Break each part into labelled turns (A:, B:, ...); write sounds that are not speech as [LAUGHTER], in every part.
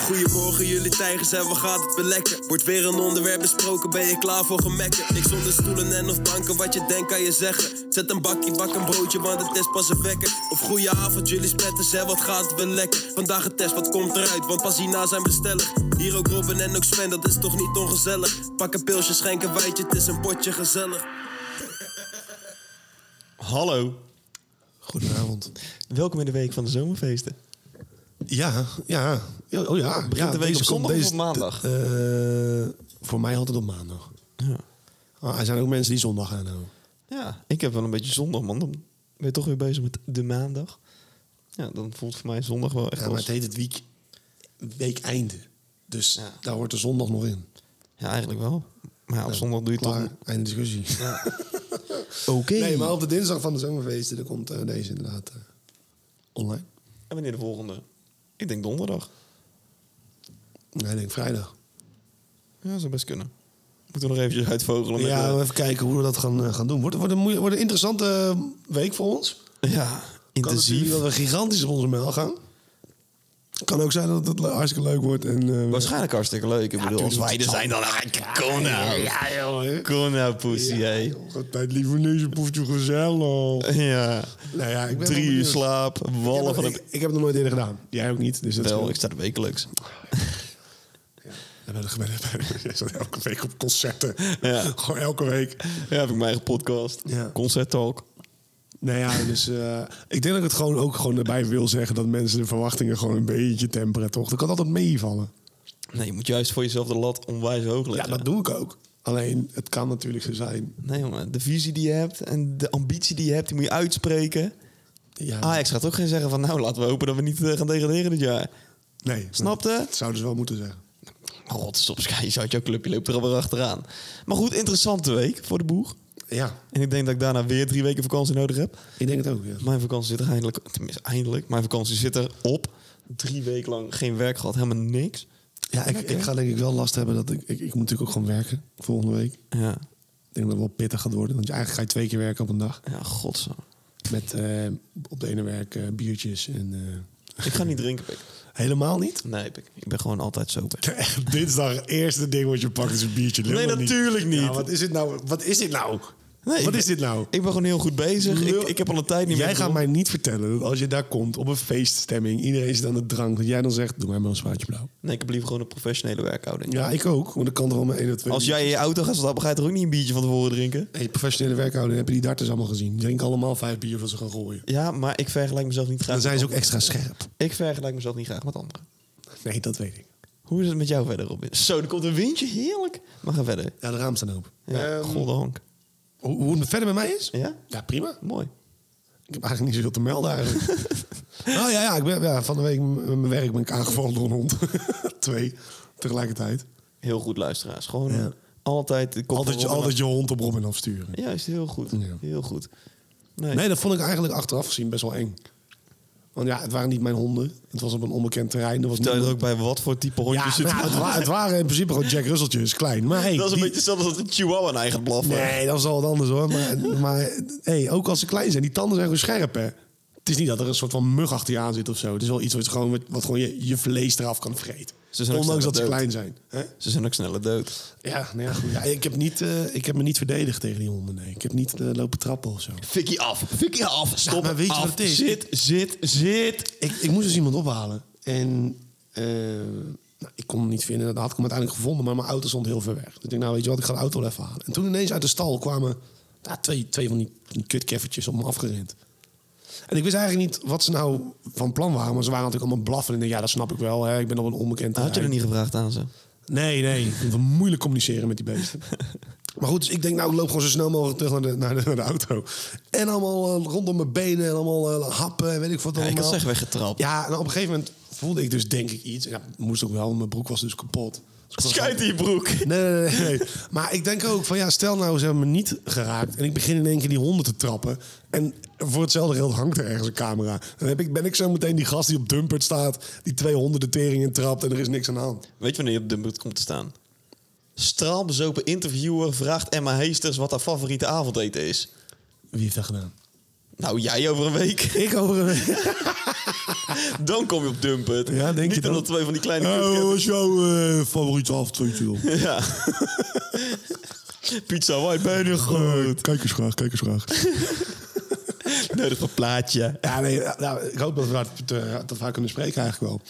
A: Goedemorgen, jullie tijgers en wat gaat het weer lekker? Wordt weer een onderwerp besproken, ben je klaar voor gemekken? Niks zonder stoelen en of banken, wat je denkt kan je zeggen. Zet een bakje, bak een broodje, want het is pas een wekker. Of goeie avond, jullie spretters en wat gaat het weer lekker? Vandaag een test, wat komt eruit, want pas hierna zijn we stellig. Hier ook Robin en ook Sven, dat is toch niet ongezellig? Pak een pilsje, schenk een wijtje, het is een potje gezellig.
B: Hallo.
C: Goedenavond.
B: Welkom in de week van de zomerfeesten.
C: Ja, ja. Ja, Oh ja. ja,
B: de week op zondag of
C: deze-
B: op maandag?
C: eh, voor mij altijd op maandag. Ah, er zijn ook mensen die zondag gaan houden.
B: Ja, ik heb wel een beetje zondag, man. Dan ben je toch weer bezig met de maandag. Ja, dan voelt voor mij zondag wel echt
C: Ja, maar
B: als...
C: het heet het week, weekeinde. Dus
B: Ja.
C: daar hoort de zondag nog in.
B: Ja, eigenlijk wel. Maar ja, op zondag doe je
C: Klaar,
B: toch...
C: einde discussie. [LAUGHS]
B: Oké.
C: Nee, maar op de dinsdag van de zomerfeesten, dan komt eh, deze inderdaad eh, online.
B: En wanneer de volgende? Ik denk donderdag.
C: Nee, ik denk vrijdag.
B: Ja, dat zou best kunnen. Moeten we nog eventjes uitvogelen met...
C: Ja,
B: de-
C: we even kijken hoe we dat gaan, eh, gaan doen. Wordt, wordt, een, moeie- wordt een interessante eh, week voor ons.
B: ja
C: Kan natuurlijk
B: intensief.
C: dat we gigantisch op onze mijl gaan. Kan ook zijn dat het le- hartstikke leuk wordt. En, eh,
B: Waarschijnlijk hartstikke leuk. Ik bedoel, als wij er zijn, dan... Kom nou.
C: Ja, joh. hè.
B: Kom nou, poesie, hé.
C: God, Bij het Livoneesje poeft je gezellig.
B: Ja.
C: Nou ja, ik ben wel
B: Drie uur
C: benieuwd.
B: slaap,
C: Ik
B: wallen
C: heb,
B: van
C: nog- ik,
B: het...
C: ik heb het nog nooit eerder gedaan. Jij ook niet. Dus dat
B: Wel,
C: scheelt.
B: ik sta er wekelijks.
C: Ja, bij de [LAUGHS] gemeente- Jij zat elke week op concerten.
B: Ja.
C: Gewoon elke week.
B: Ja, heb ik mijn eigen podcast.
C: Ja.
B: Concert Talk.
C: Nou ja, dus eh, ik denk dat ik het gewoon ook gewoon erbij wil zeggen... dat mensen de verwachtingen gewoon een beetje temperen, toch? Dat kan altijd meevallen.
B: Nee, je moet juist voor jezelf de lat onwijs hoog
C: Ja,
B: leggen.
C: dat doe ik ook. Alleen, het kan natuurlijk zo zijn.
B: Nee, jongen. De visie die je hebt en de ambitie die je hebt, die moet je uitspreken.
C: Ja,
B: Ajax gaat ook geen zeggen van... nou, laten we hopen dat we niet eh, gaan degraderen dit jaar.
C: nee.
B: Snapte?
C: Dat zouden ze wel moeten zeggen.
B: God, stop, Sky. Je zou jouw clubje loopt er al weer achteraan. Maar goed, interessante week voor de boer.
C: Ja,
B: En ik denk dat ik daarna weer drie weken vakantie nodig heb.
C: ik denk het ook, ja.
B: Mijn vakantie zit er eindelijk... Tenminste, eindelijk. Mijn vakantie zit er op. Drie weken lang geen werk gehad. Helemaal niks.
C: Ja, ik, ik
B: Lekker.
C: ga denk ik wel last hebben dat ik, ik... Ik moet natuurlijk ook gewoon werken volgende week.
B: Ja.
C: Ik denk dat het wel pittig gaat worden. Want je- eigenlijk ga je twee keer werken op een dag.
B: Ja, godzo.
C: Met eh, op de ene werk eh, biertjes en... eh,
B: Ik ga niet drinken, pik.
C: helemaal [LAUGHS] niet?
B: Nee, pik. Ik ben gewoon altijd sober.
C: Dinsdag, nou eerste ding wat je pakt is een biertje. Lul
B: Nee,
C: of niet?
B: natuurlijk niet.
C: Ja, wat is dit nou? Wat is dit nou?
B: Nee,
C: wat
B: ik-
C: is dit nou?
B: Ik ben gewoon heel goed bezig. Ik, ik heb al een tijd niet
C: Jij
B: meer.
C: gaat
B: gedronken.
C: mij niet vertellen dat als je daar komt op een feeststemming, iedereen zit aan de drank, dat jij dan zegt: Doe mij maar een zwaardje blauw.
B: Nee, ik heb liever gewoon een professionele werkhouding.
C: Ja, ik ook, want ik kan er wel mijn 1 of 2.
B: Als jij in je auto gaat stappen, ga je toch ook niet een biertje van tevoren drinken?
C: Hey, professionele werkhouding, heb je die darters allemaal gezien? Die drinken allemaal vijf bier van ze gaan gooien.
B: Ja, maar ik vergelijk mezelf niet graag.
C: Dan zijn ze
B: met
C: ook extra scherp.
B: anderen. Ik vergelijk mezelf niet graag met anderen.
C: Nee, dat weet ik.
B: Hoe is het met jou verder, Robin? Zo, er komt een windje. Heerlijk. Maar ga verder.
C: Ja, de raam staan open.
B: Ja,
C: Ehm,
B: Goddank.
C: hoe, hoe het verder met mij is?
B: Ja?
C: Ja, prima.
B: Mooi.
C: Ik heb eigenlijk niet zoveel te melden eigenlijk.
B: [LAUGHS]
C: nou ja, ja, ik ben, ja, van de week m- met mijn werk ben ik aangevallen door een hond. [LAUGHS] Twee, tegelijkertijd.
B: Heel goed, luisteraars. Gewoon
C: Ja.
B: altijd... de kop
C: Altijd je,
B: eronder.
C: altijd je hond op Robin afsturen.
B: Juist, heel goed.
C: Ja.
B: Heel goed. Nee.
C: Nee, dat vond ik eigenlijk achteraf gezien best wel eng. Want ja, het waren niet mijn honden. Het was op een onbekend terrein. Er was
B: Stel je er ook
C: niemand-
B: bij wat voor type
C: ja,
B: hondjes
C: nou, het, wa- het waren in principe gewoon Jack Russeltjes, klein. Maar hey,
B: Dat is een
C: die-
B: beetje hetzelfde als een chihuahua een eigen blaffen.
C: Nee, dat is al wat anders hoor. Maar, maar hey, ook als ze klein zijn, die tanden zijn gewoon scherp hè. Het is niet dat er een soort van mug achter je aan zit of zo. Het is wel iets wat gewoon, wat- wat gewoon je, je vlees eraf kan vreten.
B: Ze zijn ook
C: Ondanks dat ze
B: dood.
C: klein zijn. Hè?
B: Ze zijn ook sneller dood.
C: Ja, nou ja, goed. Ja, ik, heb niet, eh, ik heb me niet verdedigd tegen die honden. Nee. Ik heb niet eh, lopen trappen of zo.
B: Fikkie af. Fikkie af. Stop.
C: Ja, maar weet je
B: af.
C: wat het is?
B: Zit, zit, zit.
C: Ik, ik moest dus iemand ophalen. En eh, nou, ik kon hem niet vinden. Dat had ik hem uiteindelijk gevonden, maar mijn auto stond heel ver weg. Dus ik denk, nou weet je wat, ik ga de auto wel even halen. En toen ineens uit de stal kwamen nou, twee, twee van die, die kutkeffertjes op me afgerend. En ik wist eigenlijk niet wat ze nou van plan waren. Maar ze waren natuurlijk allemaal blaffen. En ik denk, ja, dat snap ik wel. Hè. Ik ben op een onbekend
B: Had je er
C: terrein.
B: niet gevraagd aan ze?
C: Nee, nee. Ik vind het moeilijk communiceren met die beesten. Maar goed, dus ik denk nou, ik loop gewoon zo snel mogelijk terug naar de, naar de, naar de auto. En allemaal eh, rondom mijn benen en allemaal eh, happen en weet ik wat
B: Ja,
C: allemaal.
B: ik had zeg weggetrapt.
C: Ja, en op een gegeven moment voelde ik dus denk ik iets. Ja, moest ook wel, want mijn broek was dus kapot. Dus ik was
B: Schijt in je broek.
C: Nee, nee, nee, nee. Maar ik denk ook van ja, stel nou, ze hebben me niet geraakt. En ik begin in één keer die honden te trappen. En voor hetzelfde geld hangt er ergens een camera. Dan heb ik, ben ik zo meteen die gast die op Dumpert staat. Die twee honden de tering in trapt en er is niks aan de hand.
B: Weet je wanneer je op de moet komt te staan? Straalbezopen interviewer vraagt Emma Heesters wat haar favoriete avondeten is.
C: Wie heeft dat gedaan?
B: Nou, jij over een week.
C: Ik over een week.
B: [LAUGHS] Dan kom je op dumpen.
C: Ja, denk
B: Niet
C: je dan?
B: omdat twee van die kleine
C: Eh,
B: [LAUGHS] kutketten-
C: wat is jouw eh, favoriete avondfeutje, joh?
B: Ja. Pizza Hawaii, ben je goed?
C: Eh, Kijk eens graag, kijk eens graag.
B: Nodig een plaatje.
C: Ja, nee, nou, ik hoop dat we daar te- dat we haar kunnen spreken eigenlijk wel.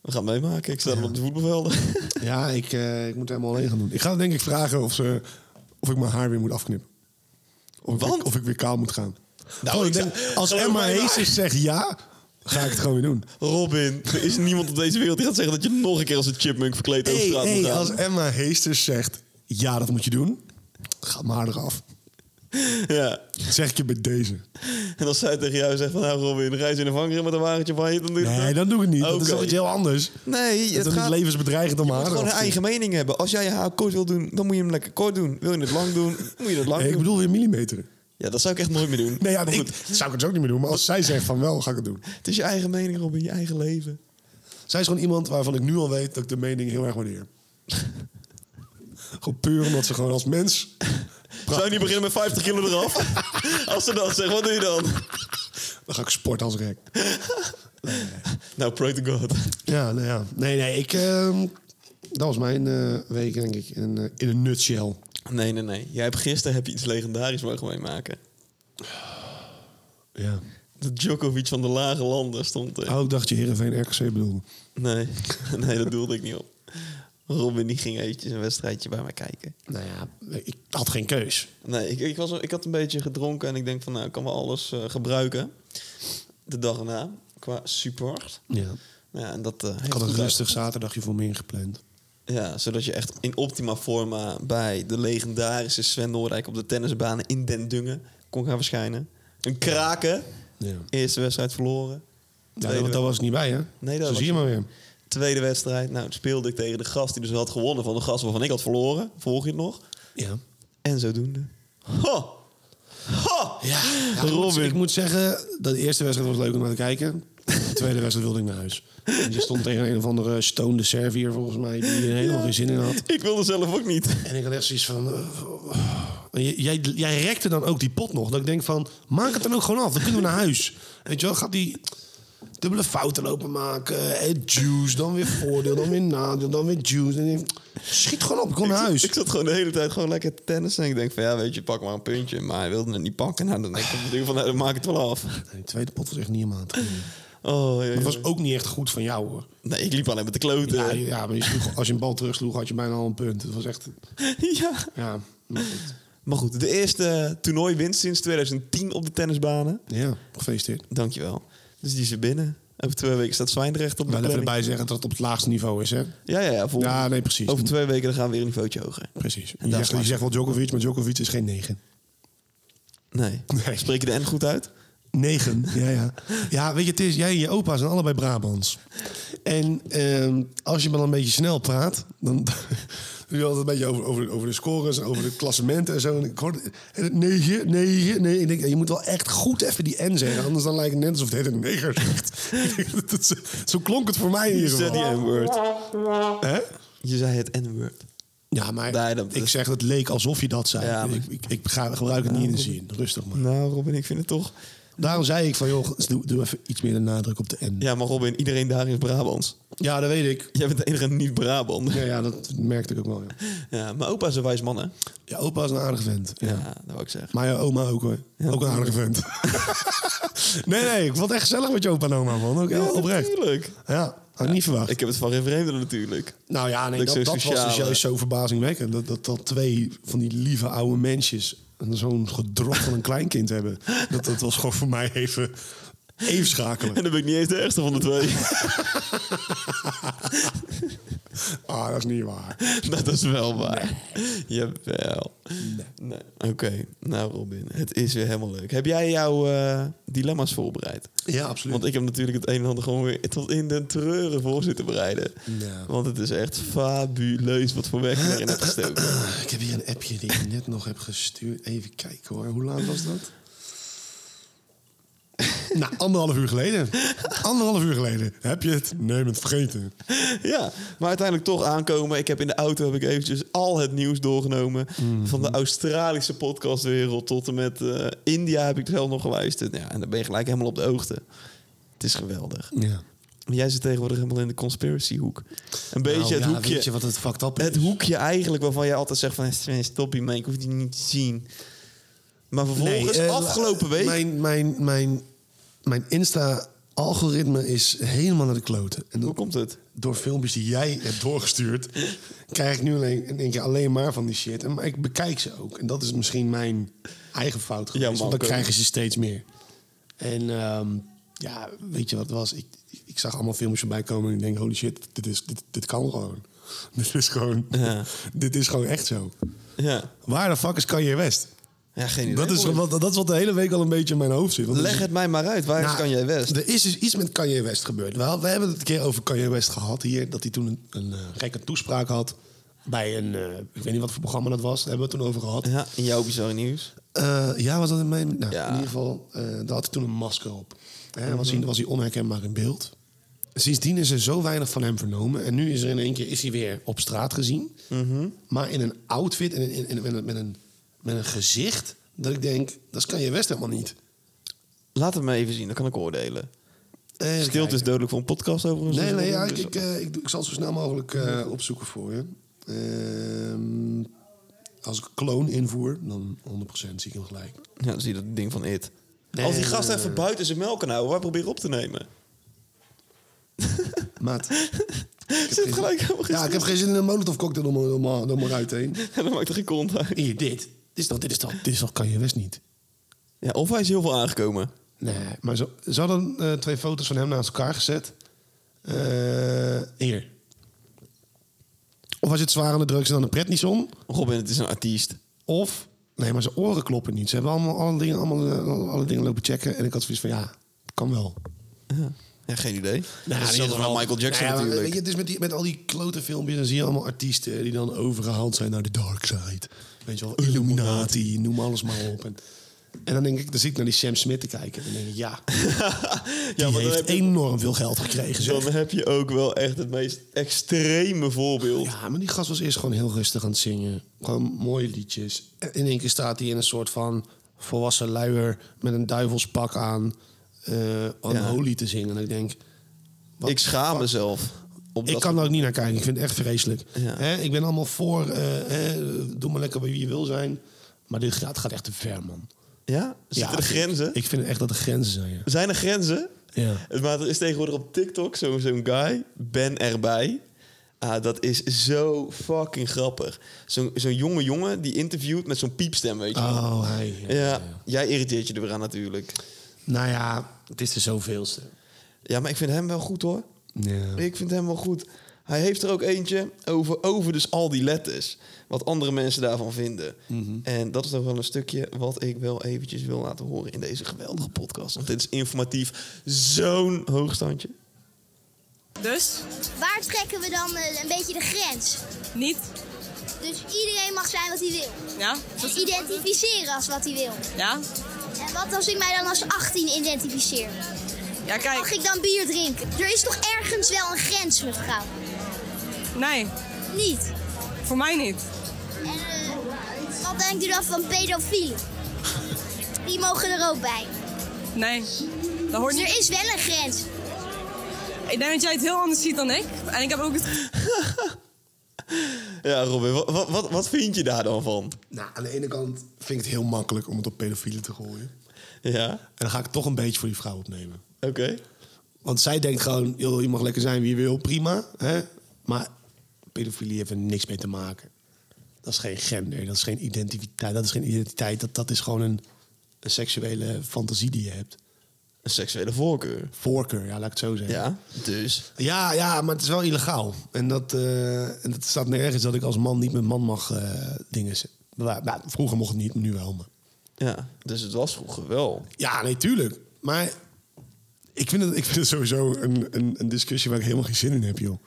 B: We gaan meemaken. Ik sta dan op de voetbalvelden. [LAUGHS]
C: Ja, ik, eh, ik moet het helemaal alleen gaan doen. Ik ga denk ik vragen of, ze, of ik mijn haar weer moet afknippen. Of, ik-
B: Want?
C: of ik weer kaal moet gaan.
B: Nou,
C: Gewoon,
B: ik
C: ik
B: zou-
C: denk, als
B: geloof
C: Emma
B: mij maar.
C: Heesters zegt ja, ga ik het gewoon weer doen.
B: Robin, er is niemand op deze wereld die gaat zeggen dat je nog een keer als een chipmunk verkleed over straat moet gaan.
C: als Emma Heesters zegt ja, dat moet je doen, gaat mijn haar eraf.
B: Ja.
C: Dat zeg ik je bij [LAUGHS] deze.
B: En als zij tegen jou zegt van nou Robin, reis in de vangrail met een wagentje van je, dan doe je
C: Nee, dan doe ik het niet. Dat is
B: Oké.
C: toch iets heel anders.
B: Nee,
C: Dat is niet levensbedreigend om
B: Je
C: haar
B: moet gewoon
C: eraf
B: een
C: te doen.
B: eigen mening hebben. Als jij je haar kort wil doen, dan moet je hem lekker kort doen. Wil je het lang doen, [LAUGHS] moet je het lang
C: Nee, ik
B: doen.
C: bedoel weer millimeteren.
B: Ja, dat zou ik echt nooit meer doen.
C: Nee, ja,
B: Maar
C: ik
B: goed,
C: zou ik het dus ook niet meer doen. Maar als zij zegt van wel, ga ik het doen.
B: Het is je eigen mening, Robin. Je eigen leven.
C: Zij is gewoon iemand waarvan ik nu al weet dat ik de mening heel erg waardeer. gewoon puur omdat ze gewoon als mens...
B: Zou je niet beginnen met 50 kilo eraf?
C: [LAUGHS]
B: Als ze dat zegt, wat doe je dan?
C: Dan ga ik sport als rek.
B: Nou, pray to God.
C: Ja, nou ja. Nee, nee, ik... ehm, dat was mijn eh, week, denk ik. In, een, eh, in een nutshell.
B: Nee, nee, nee. Jij hebt gisteren heb je iets legendarisch mogen meemaken.
C: Ja.
B: De Djokovic van de lage landen stond er.
C: Oh, ik dacht je Heerenveen RKC bedoelde.
B: Nee, [LAUGHS] nee, dat doelde ik niet op. Robin die ging eventjes een wedstrijdje bij mij kijken.
C: Nou ja, ik had geen keus.
B: Nee, ik, ik, was, ik had een beetje gedronken en ik denk van nou, ik kan wel alles eh, gebruiken. De dag erna, qua support.
C: Ja.
B: Ja, en dat, eh, heeft
C: Ik had
B: goed
C: een
B: uit-
C: rustig zaterdagje voor me ingepland.
B: Ja, zodat je echt in optima forma bij de legendarische Sven Noordijk op de tennisbanen in Den Dungen kon gaan verschijnen. Een kraken.
C: Ja.
B: Eerste wedstrijd verloren.
C: Ja,
B: Tweede
C: want daar was ik niet bij, hè?
B: Nee, dat
C: Zo
B: was-
C: zie je maar weer.
B: Tweede wedstrijd. Nou, toen speelde ik tegen de gast die dus had gewonnen van de gast waarvan ik had verloren. Volg je het nog?
C: Ja.
B: En zodoende. Ho! Ho!
C: Ja, ik moet-
B: Robin.
C: Ik moet zeggen, dat de eerste wedstrijd was leuk om naar te kijken. De tweede wedstrijd wilde ik naar huis. En je stond tegen een of andere stoned Servier volgens mij, die er helemaal geen zin in had.
B: Ik wilde zelf ook niet.
C: En ik had echt zoiets van... eh, j- jij, jij rekte dan ook die pot nog. Dat ik denk van, maak het dan ook gewoon af. Dan kunnen we naar huis. Weet je wel, gaat die dubbele fouten lopen maken. En juice, dan weer voordeel, dan weer nadeel, dan weer juice. En ik denk, schiet gewoon op, ik
B: [LAUGHS]
C: kom naar huis.
B: Ik zat gewoon de hele tijd gewoon lekker te tennissen. En ik denk van ja, weet je, pak maar een puntje. Maar hij wilde het niet pakken. Nou, dan denk ik op het duur van nou, dan maak ik het wel af.
C: Nee, de tweede pot was echt niet helemaal aan te doen.
B: Oh, ja,
C: Het
B: ja.
C: was ook niet echt goed van jou, hoor.
B: Nee, ik liep alleen met de kloten.
C: Ja, ja maar je sloeg- als je een bal terugsloeg, had je bijna al een punt. Het was echt...
B: [LAUGHS] ja.
C: Ja, maar goed.
B: Maar goed, de eerste toernooiwinst sinds 2010 op de tennisbanen.
C: Ja, gefeliciteerd.
B: Dankjewel. Dus die is er binnen. Over twee weken staat Zwijndrecht op de
C: Wel even
B: planning.
C: erbij zeggen dat het op het laagste niveau is, hè?
B: Ja, ja, ja. volgende-
C: Ja, nee, precies.
B: Over twee weken dan gaan we weer een niveautje hoger.
C: Precies.
B: En
C: Je
B: daar
C: zegt, je
B: slaat-
C: zegt wel Djokovic, maar Djokovic is geen negen.
B: Nee.
C: Nee.
B: Spreek je de N goed uit?
C: Negen, ja, ja. Ja, weet je, het is, jij en je opa zijn allebei Brabants. En ehm, als je maar dan een beetje snel praat, dan [LAUGHS] dan doe je altijd een beetje over, over, over de scores en over de klassementen en zo. En ik hoorde en het negen, negen, nee. Ik denk, je moet wel echt goed even die N zeggen, anders dan lijkt het net alsof het hele neger zegt. [LAUGHS] Dat is- zo klonk het voor mij in
B: Je
C: ieder
B: zei die
C: geval.
B: N-word.
C: Hè?
B: Je zei het N-word.
C: Ja, maar
B: Nee, dat-
C: ik zeg, het leek alsof je dat zei.
B: Ja, maar-
C: ik, ik, ik ga, gebruik het niet in de zin. Rustig maar.
B: Nou, Robin, ik vind het toch...
C: Daarom zei ik van, joh, doe, doe even iets meer de nadruk op de N. Ja,
B: Ja, maar Robin, iedereen daar is Brabants.
C: dat weet ik.
B: Jij bent de enige niet-Brabant.
C: Ja, ja, dat merkte ik ook wel. Ja.
B: Ja, mijn opa is een wijs man, hè?
C: Je opa is een aardige vent. Ja.
B: Ja, dat wou ik zeggen.
C: Maar je oma ook hoor. ook een aardige
B: [LAUGHS]
C: vent. nee, nee, ik vond het echt gezellig met je opa en oma, man. Ook heel
B: Ja,
C: oprecht.
B: natuurlijk.
C: Ja, had ik niet verwacht.
B: Ik heb het van geen vreemde natuurlijk.
C: nou ja, nee,
B: Ik
C: dat,
B: zo
C: dat was
B: sociaal,
C: dus juist
B: hè.
C: zo verbazingwekkend. Dat, dat, dat twee van die lieve oude mensjes en zo'n gedrocht van een kleinkind
B: [LAUGHS]
C: hebben. Dat, dat was gewoon voor mij even, even schakelen.
B: En dan ben ik niet eens de ergste van de twee.
C: [LAUGHS] Ah, dat is niet waar.
B: Dat is wel waar. Jawel. Nee. Oké, nou Robin, het is weer helemaal leuk. Heb jij jouw eh, dilemma's voorbereid?
C: Ja, absoluut.
B: Want ik heb natuurlijk het een en ander gewoon weer tot in de treuren voor zitten bereiden.
C: Ja.
B: Want het is echt fabuleus wat voor werk je erin hebt
C: [LAUGHS]
B: gestoken.
C: Eh, Ik heb hier een appje die ik net nog heb gestuurd. Even kijken hoor. Hoe laat was dat? [LAUGHS] nou, anderhalf uur geleden. Anderhalf uur geleden. Heb je het? Nee, ben het vergeten.
B: Ja, maar uiteindelijk toch aankomen. Ik heb in de auto heb ik eventjes al het nieuws doorgenomen.
C: Mhm.
B: Van de Australische podcastwereld tot en met eh, India heb ik zelf nog geluisterd. Ja, en dan ben je gelijk helemaal op de hoogte. Het is geweldig.
C: Ja.
B: Maar Jij zit tegenwoordig helemaal in de conspiracy hoek. Een beetje
C: Nou,
B: het
C: ja,
B: hoekje.
C: Weet je wat het fucked up
B: het
C: is?
B: hoekje eigenlijk waarvan je altijd zegt van "Sven, stop je mee, ik hoef die niet te zien. Maar vervolgens,
C: eh,
B: afgelopen week,
C: Mijn, mijn, mijn, mijn Insta-algoritme is helemaal naar de kloten. En
B: hoe
C: dat,
B: komt het?
C: door filmpjes die jij hebt doorgestuurd, krijg ik nu alleen, in één keer alleen maar van die shit. En, maar ik bekijk ze ook. En dat is misschien mijn eigen fout geweest. want dan
B: Marco.
C: krijgen ze steeds meer. En ehm, ja, weet je wat het was? Ik, ik zag allemaal filmpjes voorbij komen en ik denk, holy shit, dit, is, dit, dit kan gewoon. [LAUGHS] Dit is gewoon,
B: Ja.
C: [LAUGHS] dit is gewoon echt zo.
B: Ja,
C: Waar de fuck is Kanye West?
B: ja geen idee.
C: Dat is, wat, dat is wat de hele week al een beetje in mijn hoofd zit. Want
B: Leg
C: het
B: het mij maar uit, waar
C: nou,
B: is Kanye West?
C: Er is dus iets met Kanye West gebeurd. We, we hebben het een keer over Kanye West gehad hier. Dat hij toen een, een eh, gekke toespraak had. Bij een, eh, ik weet niet wat voor programma dat was. Daar hebben we het toen over gehad.
B: Ja, in jouw bizarre nieuws.
C: Eh, ja, was dat in mijn... Nou,
B: Ja. Mhm.
C: in ieder geval, eh daar had hij toen een masker op. Hè, was, hij, was hij onherkenbaar in beeld. Sindsdien is er zo weinig van hem vernomen. En nu is er in één keer is hij weer op straat gezien.
B: Mhm.
C: Maar in een outfit en in, in- met, een, met, een, met een gezicht... dat ik denk, dat kan je West helemaal niet.
B: Laat het me even zien, dan kan ik oordelen.
C: Even
B: Stilte is
C: kijken.
B: dodelijk voor een podcast overigens.
C: Nee,
B: Dus
C: nee,
B: dat
C: ja,
B: is
C: ik, ik, eh, ik, doe- ik zal het zo snel mogelijk eh, opzoeken voor je. Ehm, als ik kloon invoer, dan 100% zie ik hem gelijk.
B: Ja, dan zie je dat ding van It.
C: Nee, eh,
B: Als die
C: nee,
B: gast
C: nee,
B: even buiten zijn melk kan houden, waar probeer je op te nemen?
C: Maat.
B: [LAUGHS] Zit gelijk helemaal geen
C: Ja, ik heb
B: [LAUGHS]
C: geen zin in een molotov cocktail om, om, om, om eruit heen.
B: En dan maakt er geen kont uit.
C: Hier, dit. Dit is toch, dit is toch, dit is toch kan je best niet.
B: Ja, of hij is heel veel aangekomen.
C: Nee, maar zo, ze hadden eh, twee foto's van hem naast elkaar gezet. Eh, hier. Of hij zit zwaar aan de drugs en dan een pret niet om.
B: Robin, het is een artiest.
C: Of, nee, maar zijn oren kloppen niet. Ze hebben allemaal alle dingen, allemaal, eh, alle dingen lopen checken. En ik had zoiets van, ja, kan wel.
B: Ja, ja geen idee.
C: Nou,
B: dat is
C: in ieder
B: zelfs
C: geval-
B: wel Michael Jackson
C: Nou ja, maar
B: natuurlijk.
C: Weet je, dus met, die, met al die klote filmpjes, dan zie je allemaal artiesten die dan overgehaald zijn naar de dark side. Weet je wel, Illuminati, noem alles maar op. En, en dan denk ik, dan zit ik naar die Sam Smith te kijken. En dan denk ik,
B: [LAUGHS]
C: ja,
B: [LAUGHS] ja,
C: die
B: maar dan
C: heeft
B: heb, je,
C: enorm veel geld gekregen. zeg.
B: dan heb je ook wel echt het meest extreme voorbeeld.
C: Ja, maar die gast was eerst gewoon heel rustig aan het zingen. Gewoon mooie liedjes. En in één keer staat hij in een soort van volwassen luier met een duivelspak aan. eh Unholy te zingen. En ik denk, wat
B: ik schaam mezelf. Op
C: ik
B: dat-
C: kan er ook niet naar kijken. Ik vind het echt vreselijk.
B: Ja.
C: Hè, ik ben allemaal voor, eh, hè, doe maar lekker bij wie je wil zijn. Maar dit gaat, gaat echt te ver, man.
B: Ja? Zitten er
C: ik-
B: grenzen?
C: Ik vind echt dat er grenzen zijn, ja.
B: Zijn er grenzen?
C: Ja.
B: Maar er is tegenwoordig op TikTok zo'n zo'n guy, Ben erbij. Ah, dat is zo fucking grappig. Zo'n zo'n jonge jongen die interviewt met zo'n piepstem, weet je. wel.
C: Oh, hij. Ja.
B: ja, jij irriteert je er weer aan natuurlijk.
C: Nou ja, het is de zoveelste.
B: Ja, maar ik vind hem wel goed hoor.
C: Ja.
B: Ik vind hem wel goed. Hij heeft er ook eentje over, over dus al die letters. Wat andere mensen daarvan vinden. En dat is nog wel een stukje wat ik wel eventjes wil laten horen in deze geweldige podcast. Want dit is informatief zo'n hoogstandje.
D: Dus
E: Waar trekken we dan eh, een beetje de grens?
D: niet.
E: Dus iedereen mag zijn wat hij wil.
D: Ja?
E: En identificeren als wat hij wil.
D: Ja?
E: En wat als ik mij dan als 18 identificeer?
D: Ja,
E: Mag
D: kijk.
E: ik dan bier drinken? Er is toch ergens wel een grens, mevrouw?
D: Nee,
E: Niet.
D: voor mij niet.
E: En eh, wat denkt u dan van pedofielen? Die mogen er ook bij.
D: Nee. Dat hoort
E: Dus
D: niet.
E: er is wel een grens.
D: Ik denk dat jij het heel anders ziet dan ik. En ik heb ook het.
B: Ja, Robin, wat, wat, wat, wat vind je daar dan van?
C: Nou, aan de ene kant vind ik het heel makkelijk om het op pedofielen te gooien.
B: Ja,
C: En dan ga ik het toch een beetje voor die vrouw opnemen.
B: oké.
C: Want zij denkt gewoon, joh, je mag lekker zijn wie je wil, prima. Hè? Maar pedofilie heeft er niks mee te maken. Dat is geen gender, dat is geen identiteit. Dat is, geen identiteit, dat, dat is gewoon een, een seksuele fantasie die je hebt.
B: Een seksuele voorkeur.
C: Voorkeur, ja, laat ik het zo zeggen.
B: Ja, dus.
C: Ja, ja, maar het is wel illegaal. En dat, eh, en dat staat nergens dat ik als man niet met man mag eh, dingen... z- Nou, nou, vroeger mocht het niet, maar nu wel. Maar.
B: Ja, dus het was vroeger wel.
C: Ja, nee, tuurlijk. Maar ik vind het, ik vind het sowieso een, een, een discussie waar ik helemaal geen zin in heb, joh.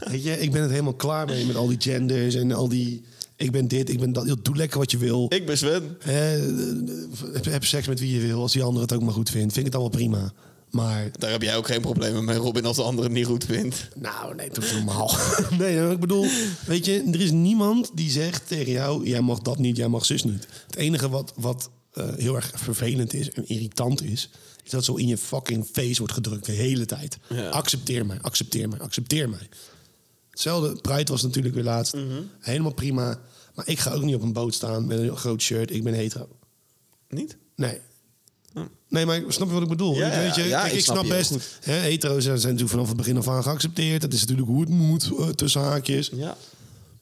C: Weet je, ik ben het helemaal klaar mee met al die genders en al die... Ik ben dit, ik ben dat. Joh, doe lekker wat je wil.
B: Ik ben Sven.
C: Eh, heb, heb seks met wie je wil. Als die ander het ook maar goed vindt. Vind ik het allemaal prima. Maar
B: Daar heb jij ook geen problemen mee, Robin, als de ander het niet goed vindt.
C: nou, nee, toch normaal. [LAUGHS] nee, maar ik bedoel, weet je, er is niemand die zegt tegen jou: jij mag dat niet, jij mag zus niet. Het enige wat, wat eh, heel erg vervelend is en irritant is, is dat zo in je fucking face wordt gedrukt de hele tijd. Accepteer mij, accepteer mij, accepteer mij. Hetzelfde, Pride was natuurlijk weer laatst. Helemaal prima. Maar ik ga ook niet op een boot staan met een groot shirt. Ik ben hetero.
B: Niet?
C: Nee. Nee, maar snap je wat ik bedoel?
B: Hm. Ja, ja,
C: weet je,
B: ja,
C: kijk,
B: ik
C: ik
B: snap
C: snap
B: je,
C: best.
B: goed.
C: Hè, hetero's zijn natuurlijk vanaf het begin af aan geaccepteerd. Dat is natuurlijk hoe het moet, eh, tussen haakjes.
B: Ja.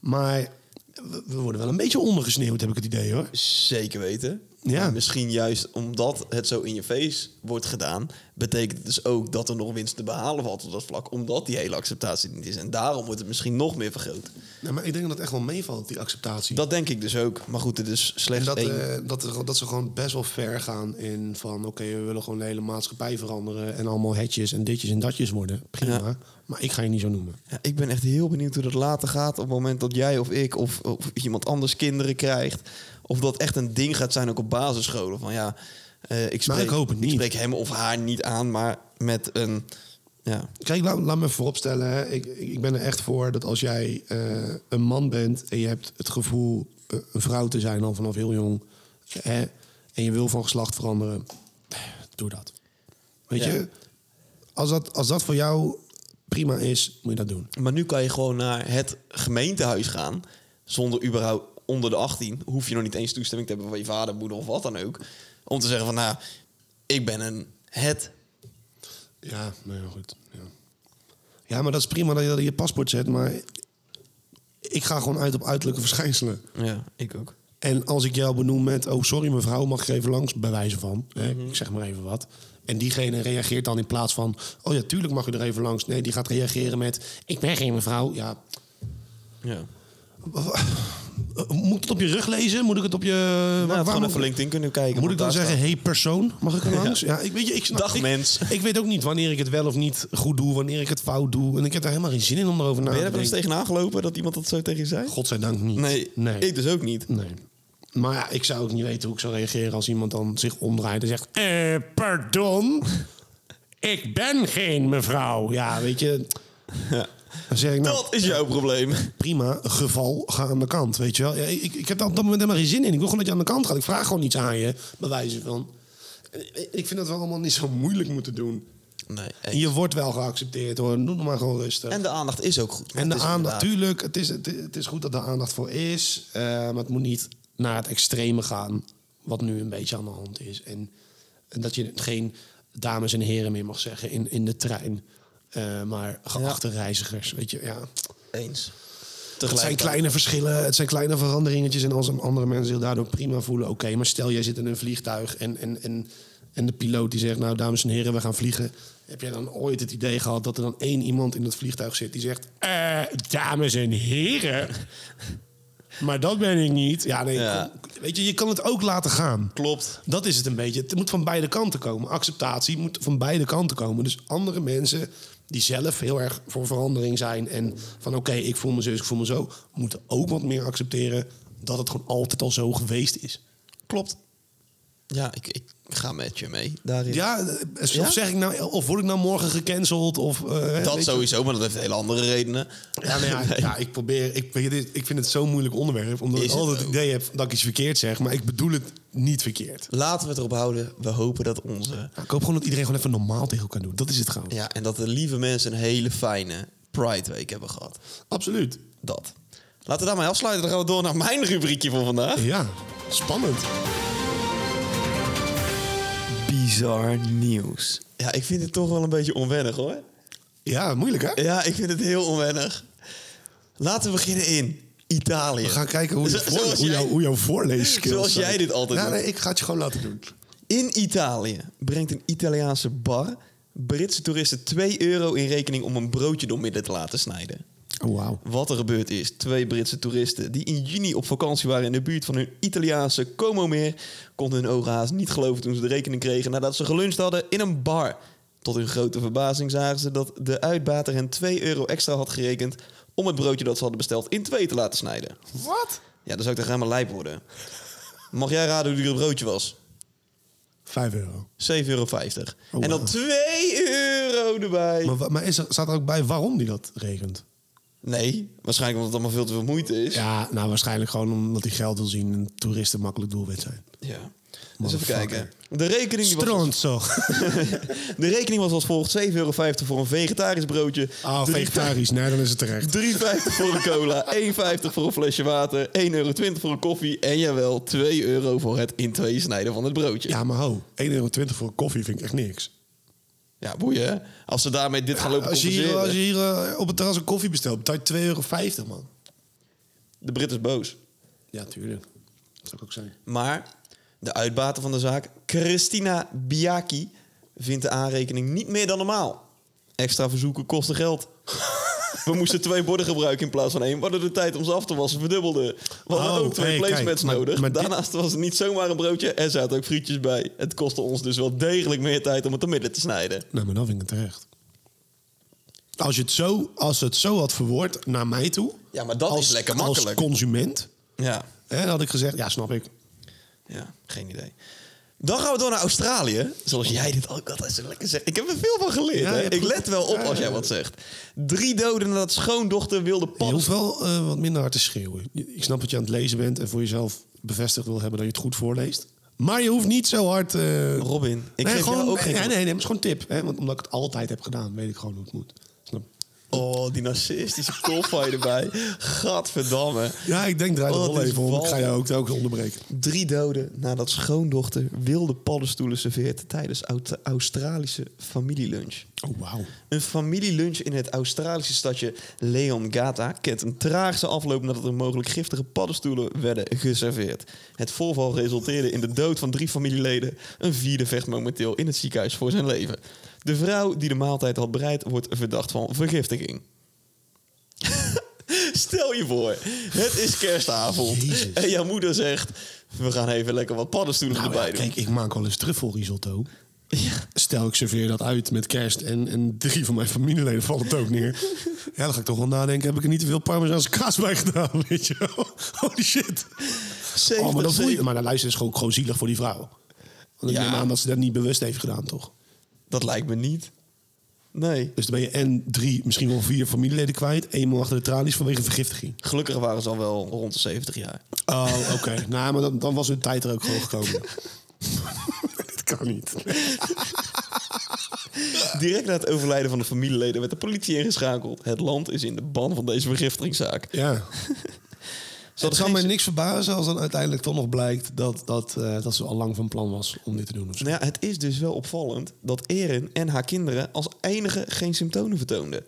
C: Maar we, we worden wel een beetje ondergesneeuwd, heb ik het idee hoor.
B: Zeker weten.
C: Ja.
B: Maar misschien juist omdat het zo in je face wordt gedaan, betekent het dus ook dat er nog winst te behalen valt op dat vlak. Omdat die hele acceptatie niet is. En daarom wordt het misschien nog meer vergroot.
C: Nou, maar ik denk dat het echt wel meevalt, die acceptatie.
B: Dat denk ik dus ook. Maar goed, het is
C: En
B: slechts
C: dat,
B: één.
C: eh, dat, er- dat ze gewoon best wel ver gaan in van... oké, we willen gewoon de hele maatschappij veranderen... en allemaal hetjes en ditjes en datjes worden. Prima,
B: Ja.
C: maar ik ga je niet zo noemen.
B: Ja, eh, ik ben echt heel benieuwd hoe dat later gaat. Op het moment dat jij of ik of, of iemand anders kinderen krijgt. Of dat echt een ding gaat zijn ook op basisscholen. Van ja, eh, ik, spreek,
C: ik hoop het niet.
B: spreek hem of haar niet aan, maar met een... Ja,
C: Kijk, laat, laat me vooropstellen. Hè. Ik, ik ik ben er echt voor dat als jij eh, een man bent en je hebt het gevoel eh, een vrouw te zijn al vanaf heel jong. Hè, en je wil van geslacht veranderen. Doe dat. Weet
B: Ja.
C: je, als dat, als dat voor jou prima is, moet je dat doen.
B: Maar nu kan je gewoon naar het gemeentehuis gaan. Zonder überhaupt onder de 18. Hoef je nog niet eens toestemming te hebben van je vader, moeder of wat dan ook. Om te zeggen van nou, ik ben een het.
C: Ja, nou ja, goed. Ja. ja, maar dat is prima dat je dat in je paspoort zet. Maar ik ga gewoon uit op uiterlijke verschijnselen.
B: Ja, ik ook.
C: En als ik jou benoem met, oh sorry mevrouw, mag ik even langs, bij wijze van, hè,
B: Mhm.
C: ik zeg maar even wat. En diegene reageert dan in plaats van, oh ja, tuurlijk mag u er even langs. Nee, die gaat reageren met, ik ben geen mevrouw. Ja, Nou,
B: Ja.
C: eh, moet ik het op je rug lezen? Moet ik het op je... waar-
B: Nou,
C: waar
B: gewoon
C: moet-
B: even LinkedIn kunnen kijken.
C: Moet
B: want
C: ik dan
B: daar
C: zeggen,
B: staat-
C: hey persoon, mag ik er langs? Ja, ik, weet je, ik snap,
B: Dag,
C: ik,
B: mens.
C: Ik weet ook niet wanneer ik het wel of niet goed doe, wanneer ik het fout doe. En ik heb daar helemaal geen zin in om erover na
B: Ben je
C: te
B: er wel eens
C: denken.
B: tegenaan gelopen dat iemand dat zo tegen je zei?
C: Godzijdank niet.
B: Nee,
C: nee.
B: ik dus ook niet.
C: Nee. Maar ja, ik zou ook niet weten hoe ik zou reageren als iemand dan zich omdraait en zegt: eh, pardon, ik ben geen mevrouw. Ja, weet je. Dan zeg ik nou,
B: Dat is jouw probleem.
C: prima, geval, ga aan de kant, weet je wel. Ja, ik, ik heb daar op dat moment helemaal geen zin in. Ik wil gewoon dat je aan de kant gaat. Ik vraag gewoon iets aan je, bij wijze van... Ik vind dat we allemaal niet zo moeilijk moeten doen.
B: Nee.
C: En je wordt wel geaccepteerd hoor, doe het maar gewoon rustig.
B: En de aandacht is ook goed.
C: En de aandacht,
B: aandacht
C: natuurlijk, het is, het, het is goed dat er aandacht voor is. eh, maar het moet niet naar het extreme gaan, wat nu een beetje aan de hand is. En, en dat je geen dames en heren meer mag zeggen in, in de trein. Eh, maar geachte reizigers, weet je, ja.
B: Eens.
C: Het zijn
B: Tegelijk.
C: kleine verschillen, het zijn kleine veranderingetjes. En als een andere mensen zich daardoor prima voelen, oké. maar stel, jij zit in een vliegtuig en, en, en, en de piloot die zegt... nou, dames en heren, we gaan vliegen. Heb jij dan ooit het idee gehad dat er dan één iemand in dat vliegtuig zit... die zegt, eh, dames en heren... maar dat ben ik niet. Ja, nee,
B: Ja.
C: weet je, je kan het ook laten gaan.
B: Klopt.
C: Dat is het een beetje. Het moet van beide kanten komen. Acceptatie moet van beide kanten komen. Dus andere mensen die zelf heel erg voor verandering zijn en van oké, ik voel me zo, ik voel me zo, moeten ook wat meer accepteren dat het gewoon altijd al zo geweest is.
B: Klopt. Ja, ik, ik ga met je mee daarin.
C: Ja, eh, of
B: Ja?
C: zeg ik nou, of word ik nou morgen gecanceld of eh, weet
B: Dat
C: je-
B: sowieso, maar dat heeft hele andere redenen. [LAUGHS]
C: Ja, nou ja, [LAUGHS] ja, ik probeer. Ik, weet je, dit- ik vind het zo'n moeilijk onderwerp, omdat
B: Is
C: ik
B: het
C: altijd het
B: ook.
C: idee heb dat ik iets verkeerd zeg, maar ik bedoel het niet verkeerd.
B: Laten we het erop houden. We hopen dat onze...
C: Ja, ik hoop gewoon dat iedereen gewoon even normaal tegen elkaar doet. Dat is het gewoon.
B: Ja, en dat de lieve mensen een hele fijne Pride Week hebben gehad.
C: Absoluut.
B: Dat. Laten we daarmee afsluiten. Dan gaan we door naar mijn rubriekje voor vandaag.
C: Ja, spannend.
B: Bizar nieuws. Ja, ik vind het toch wel een beetje onwennig hoor.
C: Ja, moeilijk hè?
B: Ja, ik vind het heel onwennig. Laten we beginnen in Italië.
C: We gaan kijken hoe, je
B: Zo-
C: voor,
B: zoals
C: hoe,
B: jij-
C: jou, hoe jouw voorleesskills
B: Zoals
C: zijn.
B: jij dit altijd
C: Ja,
B: doet.
C: nee, ik ga het je gewoon laten doen.
B: In Italië brengt een Italiaanse bar Britse toeristen 2 euro in rekening om een broodje door midden te laten snijden.
C: Oh, wauw.
B: Wat er gebeurd is, twee Britse toeristen die in juni op vakantie waren in de buurt van hun Italiaanse Como-meer, konden hun ogen haast niet geloven toen ze de rekening kregen nadat ze geluncht hadden in een bar. Tot hun grote verbazing zagen ze dat de uitbater hen 2 euro extra had gerekend om het broodje dat ze hadden besteld in twee te laten snijden.
C: Wat?
B: Ja, dan zou ik toch helemaal lijp worden. Mag jij raden hoe duur het broodje was?
C: 5 euro.
B: 7,50 euro.
C: Oh,
B: En dan
C: wauw.
B: 2 euro erbij.
C: Maar, wa- maar is er, staat er ook bij waarom die dat regent?
B: Nee, waarschijnlijk omdat het allemaal veel te veel moeite is.
C: Ja, nou waarschijnlijk gewoon omdat hij geld wil zien en toeristen makkelijk doelwit zijn.
B: Ja. Dus even kijken. De rekening, die was,
C: Stronzo.
B: [LAUGHS] de rekening was als volgt. 7,50 euro voor een vegetarisch broodje.
C: Ah,
B: Drie-
C: vegetarisch. Nee, dan is het terecht.
B: 3,50 voor een
C: [LAUGHS]
B: cola, 1,50 voor een flesje water, 1,20 voor een koffie en jawel, 2 euro voor het in twee snijden van het broodje. Ja,
C: Ja, maar ho. 1,20 euro voor een koffie vind ik echt niks.
B: boeien hè? Als ze daarmee dit gaan lopen
C: Als je hier,
B: compenseren.
C: als je hier eh, op het terras een koffie bestelt, betaal je 2,50 euro, man.
B: De Brit is boos.
C: Ja, tuurlijk. Dat zou ik ook zijn.
B: Maar de uitbater van de zaak, Christina Biaki, vindt de aanrekening niet meer dan normaal. Extra verzoeken kosten geld. [LAUGHS] We moesten twee borden gebruiken in plaats van één. We hadden de tijd om ze af te wassen verdubbelde. We hadden
C: Oh,
B: ook twee
C: hey,
B: placements
C: kijk, maar-
B: nodig.
C: maar dit-
B: Daarnaast was het niet zomaar een broodje. Er zaten ook frietjes bij. Het kostte ons dus wel degelijk meer tijd om het te midden te snijden.
C: Nou, maar dan vind ik het terecht. Als, je het zo, als het zo had verwoord naar mij toe...
B: Ja, maar dat
C: als,
B: is lekker
C: Als
B: makkelijk.
C: consument,
B: Ja,
C: hè, dan had ik gezegd... Ja, snap ik.
B: ja, geen idee. Dan gaan we door naar Australië. Zoals jij dit ook altijd zo lekker zegt. Ik heb er veel van geleerd.
C: Ja,
B: hè?
C: je hebt
B: Ik
C: goed-
B: let wel op
C: Ja,
B: als jij
C: ja.
B: wat zegt. Drie doden nadat schoondochter wilde
C: Je
B: pap
C: hoeft wel eh, wat minder hard te schreeuwen. Je- Ik snap dat je aan het lezen bent en voor jezelf bevestigd wil hebben dat je het goed voorleest. Maar je hoeft niet zo hard... eh,
B: Robin, ik
C: nee,
B: geef
C: gewoon,
B: jou ook
C: nee,
B: geen
C: Nee,
B: goed.
C: nee, nee, maar het is gewoon een tip. Hè? Want omdat ik het altijd heb gedaan, weet ik gewoon hoe het moet. Snap?
B: Oh, die narcistische kop van je erbij. Gadverdamme.
C: Ja, ik denk draai de
B: Oh,
C: rol
B: dit is
C: even om. Ik ga
B: walgelijk.
C: je ook, ook onderbreken.
B: Drie doden nadat schoondochter wilde paddenstoelen serveert tijdens Aut- Australische familielunch.
C: Oh, wauw.
B: Een familielunch in het Australische stadje Leongata kent een traagse afloop nadat er mogelijk giftige paddenstoelen werden geserveerd. Het voorval resulteerde in de dood van drie familieleden. Een vierde vecht momenteel in het ziekenhuis voor zijn leven. De vrouw die de maaltijd had bereid wordt verdacht van vergiftiging. [LAUGHS] Stel je voor, het is kerstavond
C: Jezus.
B: en jouw moeder zegt... we gaan even lekker wat paddenstoelen
C: Nou,
B: erbij
C: ja,
B: doen.
C: kijk, ik maak wel eens truffelrisotto.
B: Ja.
C: Stel, ik serveer dat uit met kerst en, en drie van mijn familieleden vallen het ook
B: [LAUGHS]
C: neer. Ja, dan ga ik toch wel nadenken, heb ik er niet te veel parmezaanse kaas bij gedaan, [LAUGHS] weet je wel? Holy shit.
B: Zeven-
C: oh, maar, dan voel je,
B: zeven-
C: maar dan luister is gewoon, gewoon zielig voor die vrouw. Want ik
B: Ja.
C: neem aan dat ze dat niet bewust heeft gedaan, toch?
B: Dat lijkt me niet. Nee.
C: Dus dan ben je en drie, misschien wel vier familieleden kwijt. Eenmaal achter de tralies vanwege vergiftiging.
B: Gelukkig waren ze al wel rond de 70 jaar.
C: Oh, oké. [LAUGHS] nou, maar dan, dan was hun tijd er ook gewoon gekomen. [LAUGHS] Dit kan niet.
B: Direct na het overlijden van de familieleden werd de politie ingeschakeld. Het land is in de ban van deze vergiftigingszaak.
C: Ja.
B: Ze hadden
C: Het zou mij
B: geen-
C: niks verbazen als dan uiteindelijk toch nog blijkt dat, dat, eh, dat ze al lang van plan was om dit te doen. Of zo.
B: Nou ja, het is dus wel opvallend dat Erin en haar kinderen als enige geen symptomen vertoonden.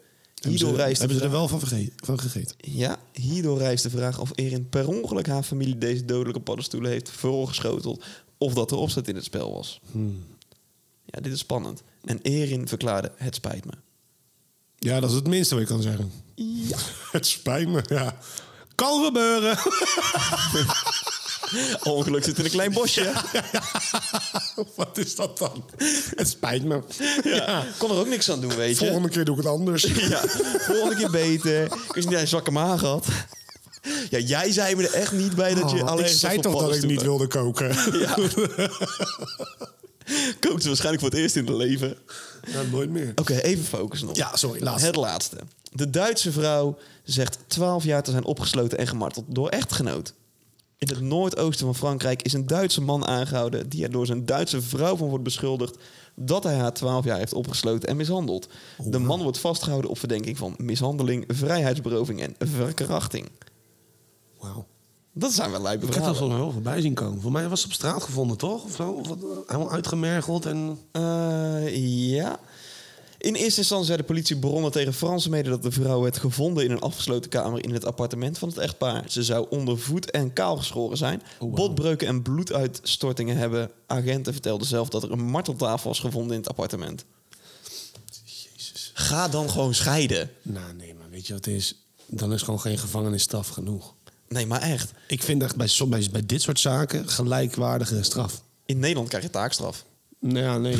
B: Hierdoor
C: hebben
B: rijst
C: ze,
B: de
C: hebben ze er
B: vraag-
C: wel van, verge- van gegeten.
B: Ja, hierdoor rijst de vraag of Erin per ongeluk haar familie deze dodelijke paddenstoelen heeft voorgeschoteld. Of dat er opzet in het spel was.
C: Hmm.
B: Ja, dit is spannend. En Erin verklaarde, het spijt me.
C: Ja, dat is het minste wat je kan zeggen.
B: Ja.
C: [LAUGHS] Het spijt me, ja. Kan gebeuren. [LAUGHS]
B: Ongeluk zit in een klein bosje.
C: [LAUGHS] wat is dat dan? Het spijt me.
B: Ja. Kon er ook niks aan doen, weet je.
C: Volgende keer doe ik het [LAUGHS] anders.
B: Ja, volgende keer beter. Ik wist niet dat je zwakke maag had. Ja, jij zei me er echt niet bij dat je
C: Oh,
B: alleen
C: ik zei toch dat ik niet wilde [LAUGHS] koken.
B: Ja. Kookt ze waarschijnlijk voor het eerst in het leven. Oké,
C: Nou, nooit meer.
B: even focus nog.
C: Ja, sorry, laatste.
B: Het laatste. De Duitse vrouw zegt 12 jaar te zijn opgesloten en gemarteld door echtgenoot. In het noordoosten van Frankrijk is een Duitse man aangehouden die er door zijn Duitse vrouw van wordt beschuldigd dat hij haar 12 jaar heeft opgesloten en mishandeld. De man wordt vastgehouden op verdenking van mishandeling, vrijheidsberoving en verkrachting.
C: Wauw.
B: Dat zijn wel lijpe
C: Ik heb dat
B: verhalen.
C: volgens mij wel voorbij zien komen. Voor mij was het op straat gevonden, toch? Of zo? Of wat, helemaal uitgemergeld en...
B: Eh, ja. In eerste instantie zei de politie bronnen tegen Fransen mede dat de vrouw werd gevonden in een afgesloten kamer in het appartement van het echtpaar. Ze zou onder voet en kaal geschoren zijn, botbreuken en bloeduitstortingen hebben. Agenten vertelden zelf dat er een marteltafel was gevonden in het appartement.
C: Jezus.
B: Ga dan gewoon scheiden.
C: Nou, nee, maar weet je wat het is? Dan is gewoon geen gevangenisstraf genoeg.
B: Nee, maar echt.
C: Ik vind echt bij, som- bij, bij dit soort zaken gelijkwaardige straf.
B: In Nederland krijg je taakstraf.
C: Nou ja, nee.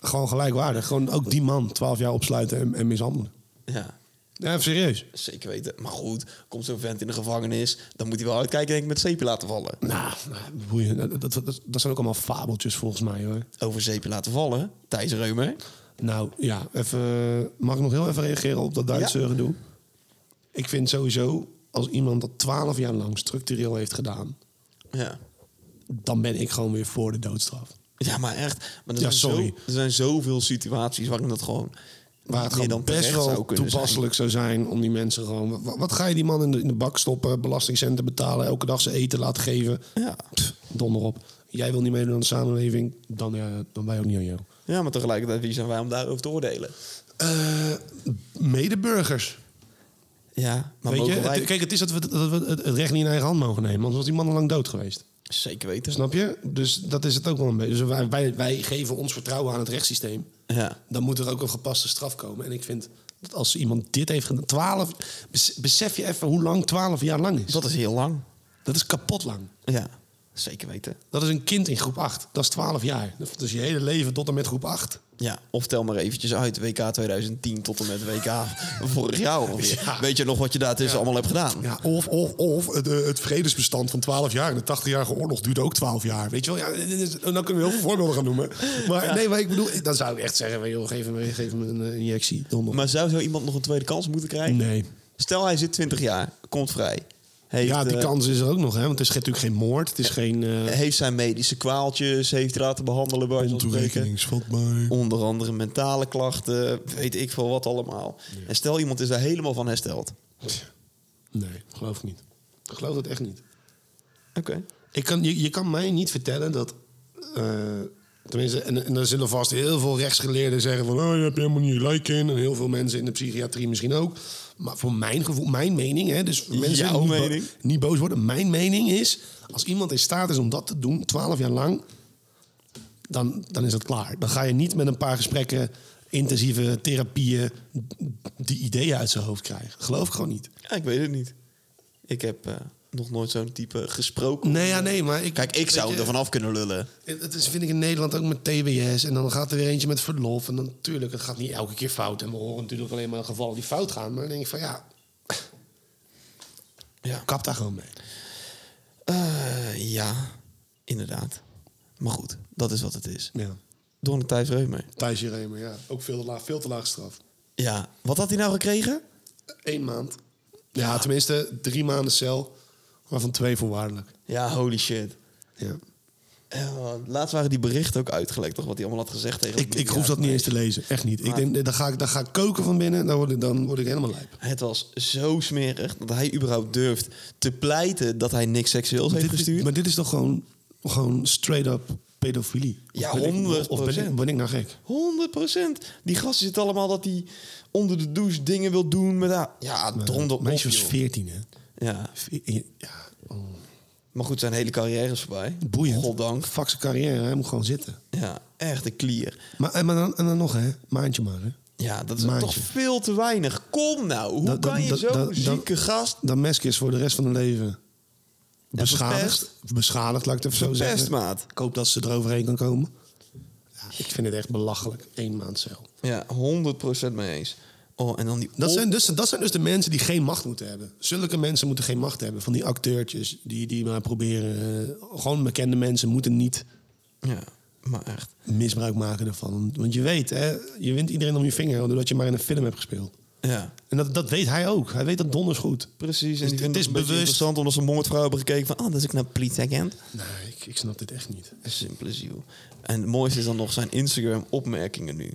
C: gewoon gelijkwaardig. Gewoon ook die man 12 jaar opsluiten en, en mishandelen.
B: Ja,
C: Ja, even serieus.
B: zeker weten. Maar goed, komt zo'n vent in de gevangenis, dan moet hij wel uitkijken denk ik met zeepje laten vallen.
C: Nou, nou, boeien. Dat, dat, dat, dat zijn ook allemaal fabeltjes volgens mij, hoor.
B: Over zeepje laten vallen, Thijs Reumer.
C: Nou ja, even, eh, mag ik nog heel even reageren op dat Duitse
B: Ja.
C: gedoe? Ik vind sowieso, als iemand dat 12 jaar lang structureel heeft gedaan,
B: Ja.
C: dan ben ik gewoon weer voor de doodstraf.
B: Ja, maar echt. Maar er,
C: Ja,
B: zijn
C: sorry.
B: Zo, er zijn zoveel situaties waarin dat gewoon
C: Waar het
B: meer
C: gewoon
B: dan
C: best
B: terecht
C: wel
B: zou kunnen zijn.
C: toepasselijk zou zijn om die mensen gewoon... wa- wa- Wat, ga je die man in de, in de bak stoppen, belastingcenten betalen... elke dag zijn eten laten geven?
B: Ja.
C: Pff, donder op. Jij wil niet meedoen aan de samenleving, dan, eh, dan wij ook niet aan jou.
B: Ja, maar tegelijkertijd, wie zijn wij om daarover te oordelen?
C: Eh, medeburgers.
B: Ja, maar
C: Weet je,
B: mogen wij...
C: het- kijk, het is dat we, dat we het het recht niet in eigen hand mogen nemen. Anders was die man al lang dood geweest.
B: Zeker weten.
C: Snap je? Dus dat is het ook wel een beetje. Dus wij, wij, wij geven ons vertrouwen aan het rechtssysteem.
B: Ja.
C: Dan moet er ook een gepaste straf komen. En ik vind dat als iemand dit heeft gedaan... 12, bes- besef je even hoe lang 12 jaar lang is.
B: Dat is heel lang.
C: dat is kapot lang.
B: Ja, zeker weten.
C: Dat is een kind in groep 8. Dat is 12 jaar. Dat is je hele leven tot en met groep 8.
B: Ja, of tel maar eventjes uit WK 2010 tot en met [LAUGHS] WK vorig jaar ongeveer.
C: Ja.
B: Weet je nog wat je daartussen allemaal hebt gedaan?
C: Ja, of, of, of het, eh, het vredesbestand van 12 jaar. En de 80-jarige oorlog duurde ook 12 jaar. Weet je wel, ja, dit is- dan kunnen we heel veel voorbeelden gaan noemen. Maar nee, maar ik bedoel, dan zou ik echt zeggen: joh, geef me, geef me een eh, injectie. donder.
B: Maar zou zo iemand nog een tweede kans moeten krijgen?
C: nee.
B: Stel hij zit 20 jaar, komt vrij. Heeft,
C: Ja, die
B: eh,
C: kans is er ook nog, hè? Want het is natuurlijk geen moord. Het is geen. eh
B: heeft zijn medische kwaaltjes, heeft laten behandelen bij wijze van spreken.
C: Ontoerekeningsvatbaar.
B: Onder andere mentale klachten, weet ik veel wat allemaal. En stel iemand is daar helemaal van hersteld.
C: Nee, geloof ik niet. Ik geloof dat echt niet.
B: Oké.
C: Ik kan, je, je kan mij niet vertellen dat. eh, tenminste, en, en dan zullen vast heel veel rechtsgeleerden zeggen: van... Oh, je hebt helemaal niet gelijk in. En heel veel mensen in de psychiatrie misschien ook. Maar voor mijn gevoel, mijn mening, hè, dus voor mensen
B: Jouw
C: die niet bo-
B: mening?
C: niet boos worden. Mijn mening is: als iemand in staat is om dat te doen, 12 jaar lang, dan, dan is het klaar. Dan ga je niet met een paar gesprekken, intensieve therapieën, die ideeën uit zijn hoofd krijgen. Geloof ik gewoon niet.
B: Ja, ik weet het niet. Ik heb eh, nog nooit zo'n type gesproken.
C: Nee, ja, nee, maar ik.
B: Kijk, ik
C: weet
B: zou
C: je-
B: er vanaf kunnen lullen.
C: Het is, vind ik in Nederland ook met TBS. En dan gaat er weer eentje met verlof. En dan natuurlijk, het gaat niet elke keer fout. En we horen natuurlijk alleen maar gevallen die fout gaan. Maar dan denk ik van [CLEARS THROAT] ja,
B: Ja.
C: kap daar gewoon mee.
B: Eh, ja, inderdaad. Maar goed, dat is wat het is.
C: Ja.
B: Door een Thijs Reumer.
C: Thijs Jeremer, ja. Ook veel te laag, veel te laag straf.
B: Ja, wat had hij nou gekregen?
C: Eén maand. Ja, tenminste drie maanden cel. Waarvan twee voorwaardelijk.
B: Ja, holy shit.
C: Ja.
B: Eh, laatst waren die berichten ook uitgelekt, toch? Wat hij allemaal had gezegd tegen
C: Ik, ik hoef dat niet eens te lezen. Echt niet. Ik
B: Maar-
C: denk, dan ga ik, dan ga ik koken van binnen. Dan word ik, dan word ik helemaal lijp.
B: Het was zo smerig dat hij überhaupt durft te pleiten dat hij niks seksueels heeft
C: Dit- dit-
B: gestuurd.
C: maar dit is toch gewoon, gewoon straight up pedofilie? Of
B: Ja,
C: ben ik-
B: 100%.
C: Of ben ik, ben ik nou gek?
B: 100%. Die gasten zitten allemaal dat hij onder de douche dingen wil doen met haar. Ja, donder op.
C: Meisje was
B: joh.
C: 14, hè?
B: Ja.
C: Ve- Ja, oh.
B: Maar goed, zijn hele carrière is voorbij.
C: boeiend.
B: Goddank.
C: Fuck zijn carrière, hij moet gewoon zitten.
B: Ja, echt een klier.
C: Maar, en- maar dan, en dan nog, hè? Maandje maar, hè?
B: Ja, dat is
C: Maandje.
B: toch veel te weinig. Kom nou, hoe
C: Dat- dat-
B: kan je
C: dat- dat-
B: zo'n
C: dat-
B: zieke gast...
C: Dat mesk is voor de rest van hun leven beschadigd.
B: verpest.
C: Beschadigd, laat ik het even zo
B: Verpest,
C: zeggen.
B: maat.
C: Ik hoop dat ze eroverheen kan komen. Ja, ik vind het echt belachelijk. Eén maand cel.
B: Ja, 100% mee eens. Oh, en dan die
C: Dat
B: op-
C: zijn, dus, dat zijn dus de mensen die geen macht moeten hebben. Zulke mensen moeten geen macht hebben. Van die acteurtjes die, die maar proberen... eh, gewoon bekende mensen moeten niet
B: Ja, maar echt.
C: misbruik maken ervan. Want je weet, hè, je wint iedereen om je vinger doordat je maar in een film hebt gespeeld.
B: Ja,
C: En dat, dat weet hij ook. Hij weet dat donders goed.
B: precies. En
C: Dus
B: die
C: het
B: vinden het
C: is
B: een beetje
C: bewust.
B: interessant omdat ze een moordvrouw hebben gekeken van... Ah, dat is ik nou politieagent.
C: Nee, ik, ik snap dit echt niet.
B: Simpele ziel. En het mooiste is dan nog zijn Instagram-opmerkingen nu.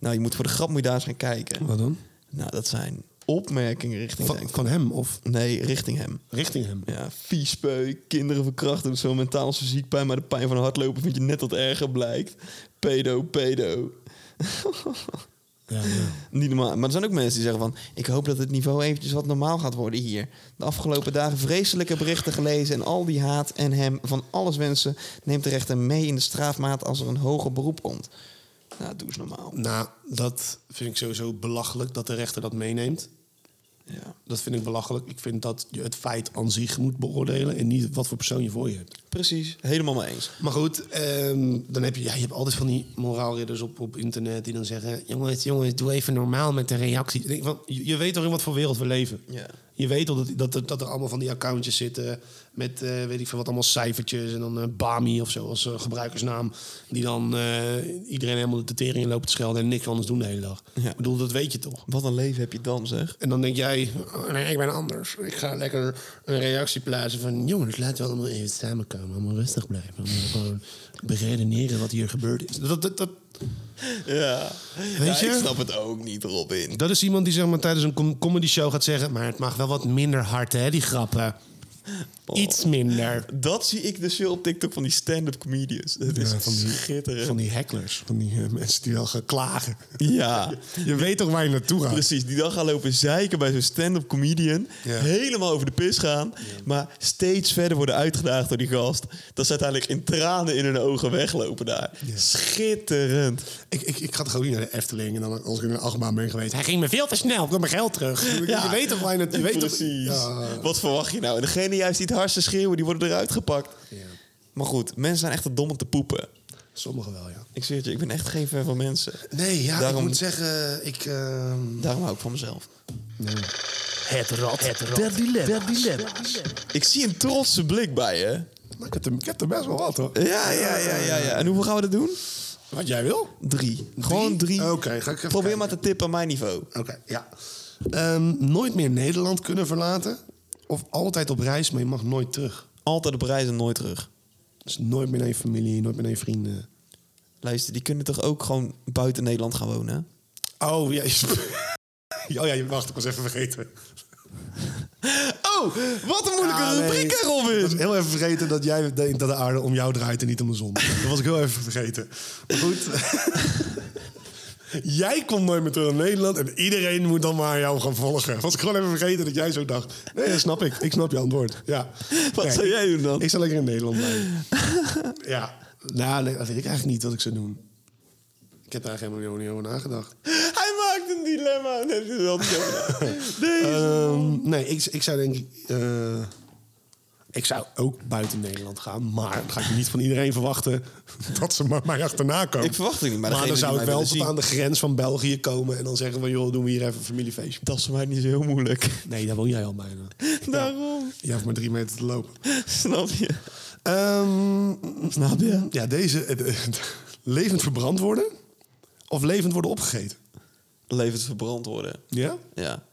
B: Nou, je moet voor de grap moet je daar eens gaan kijken.
C: Wat dan?
B: Nou, dat zijn opmerkingen richting...
C: Van,
B: zijn-
C: van hem of
B: Nee, richting hem.
C: richting hem.
B: Ja, vies peuk, kinderen verkrachten, zo mentaal als fysiek pijn, maar de pijn van hardlopen vind je net wat erger blijkt. Pedo, pedo.
C: Ja, ja.
B: Niet normaal. Maar er zijn ook mensen die zeggen van... ik hoop dat het niveau eventjes wat normaal gaat worden hier. De afgelopen dagen vreselijke berichten gelezen... en al die haat en hem van alles wensen... neemt de rechter mee in de strafmaat als er een hoger beroep komt. Nou, doe eens normaal.
C: Nou, dat vind ik sowieso belachelijk dat de rechter dat meeneemt.
B: Ja,
C: Dat vind ik belachelijk. Ik vind dat je het feit aan zich moet beoordelen en niet wat voor persoon je voor je hebt.
B: precies. Helemaal mee eens.
C: Maar goed, ehm, dan heb je, ja, je hebt altijd van die moraalridders op, op internet die dan zeggen: jongens, jongens, doe even normaal met de reactie. Ik Denk van, je, je weet toch in wat voor wereld we leven?
B: Ja.
C: Je weet al dat, dat, dat er allemaal van die accountjes zitten met, eh, weet ik veel wat, allemaal cijfertjes. En dan eh, Bami of zo als eh, gebruikersnaam. Die dan eh, iedereen helemaal de tering in lopen te schelden en niks anders doen de hele dag.
B: Ja.
C: Ik bedoel, dat weet je toch?
B: Wat een leven heb je dan, zeg.
C: En dan denk jij, oh, nee, ik ben anders. Ik ga lekker een reactie plaatsen van... jongens, laten we allemaal even samenkomen. Allemaal rustig blijven. Allemaal gewoon beredeneren wat hier gebeurd is. Dat, dat, dat,
B: Ja.
C: Weet je?
B: Ik snap het ook niet, Robin.
C: dat is iemand die zeg maar, tijdens een com- comedy show gaat zeggen... maar het mag wel wat minder hard, hè, die grappen. Iets minder.
B: Dat zie ik dus veel op TikTok van die stand-up comedians. Dat is
C: Ja, van die-
B: schitterend.
C: Van die hecklers. Van die eh, mensen die wel gaan klagen.
B: Ja,
C: Je weet toch waar je naartoe gaat?
B: precies. Die dan gaan lopen zeiken bij zo'n stand-up comedian.
C: Ja.
B: Helemaal over de pis gaan. Maar steeds verder worden uitgedaagd door die gast. Dat ze uiteindelijk in tranen in hun ogen weglopen daar. Schitterend.
C: Ik, ik, ik ga toch ook niet naar de Efteling en dan als ik in een achtbaan ben geweest. Hij ging me veel te snel, ik wil mijn geld [LAUGHS] terug. Je weet toch waar je het... Je weet
B: precies.
C: Toch, ja.
B: Wat verwacht je nou? En degene juist die het hardste schreeuwen, die worden eruit gepakt. Maar goed, mensen zijn echt te dom om te poepen.
C: Sommigen wel, ja.
B: Ik zweer het je, ik ben echt geen fan van mensen.
C: Nee, ja,
B: Daarom-
C: ik moet zeggen, ik... ehm,
B: Daarom hou ik van mezelf.
C: Het rad, het rad.
B: Ik zie een trotse blik bij je.
C: ik, heb er, ik heb er best wel wat, hoor.
B: Ja, ja, ja, ja, ja. En hoeveel gaan we dat doen?
C: Wat jij wil?
B: Drie. Gewoon drie.
C: Oké, ga ik even
B: Probeer
C: kijken.
B: maar te tippen aan mijn niveau.
C: Oké, ja. Ehm, nooit meer Nederland kunnen verlaten. Of altijd op reis, maar je mag nooit terug.
B: Altijd op reis en nooit terug.
C: Dus nooit meer naar je familie, nooit meer naar je vrienden.
B: Luister, die kunnen toch ook gewoon buiten Nederland gaan wonen? hè?
C: Oh, ja. je- [LAUGHS] Oh ja, je- wacht, ik was even vergeten.
B: Oh, wat een moeilijke
C: Ah, nee.
B: rubriek, hè,
C: Ik
B: Robin!
C: was heel even vergeten dat jij denkt dat de aarde om jou draait en niet om de zon. [LAUGHS] Dat was ik heel even vergeten. Maar [LAUGHS] goed. jij komt nooit meer terug naar Nederland en iedereen moet dan maar jou gaan volgen. Was ik gewoon even vergeten dat jij zo dacht. Nee, dat snap ik. Ik snap je antwoord. Ja.
B: Wat
C: Nee,
B: zou jij doen dan?
C: Ik zou lekker in Nederland [LAUGHS] blijven. ja. Nou, nee, dat weet ik eigenlijk niet wat ik zou doen. Ik heb daar eigenlijk helemaal niet over nagedacht.
B: Hij maakt een dilemma. Nee, dit is wel niet over.
C: [LAUGHS]
B: Deze.
C: Ehm, nee, ik, ik zou denk ik... eh, ik zou ook buiten Nederland gaan. Maar dan ga ik niet van iedereen verwachten [LAUGHS] dat ze maar mij achterna komen.
B: Ik verwacht het niet, maar
C: Maar, dan
B: degene
C: zou
B: die
C: ik
B: mij
C: wel tot
B: willen zien-
C: aan de grens van België komen. En dan zeggen van, joh, doen we hier even een familiefeestje.
B: Dat is voor mij niet zo heel moeilijk. [LAUGHS]
C: Nee, daar woon jij al bijna.
B: Daarom.
C: Jij hoeft maar drie meter te lopen.
B: Snap je?
C: Ehm,
B: Snap je?
C: ja, deze... eh, eh, levend verbrand worden? Of levend worden opgegeten?
B: Levens verbrand worden.
C: Ja?
B: Ja.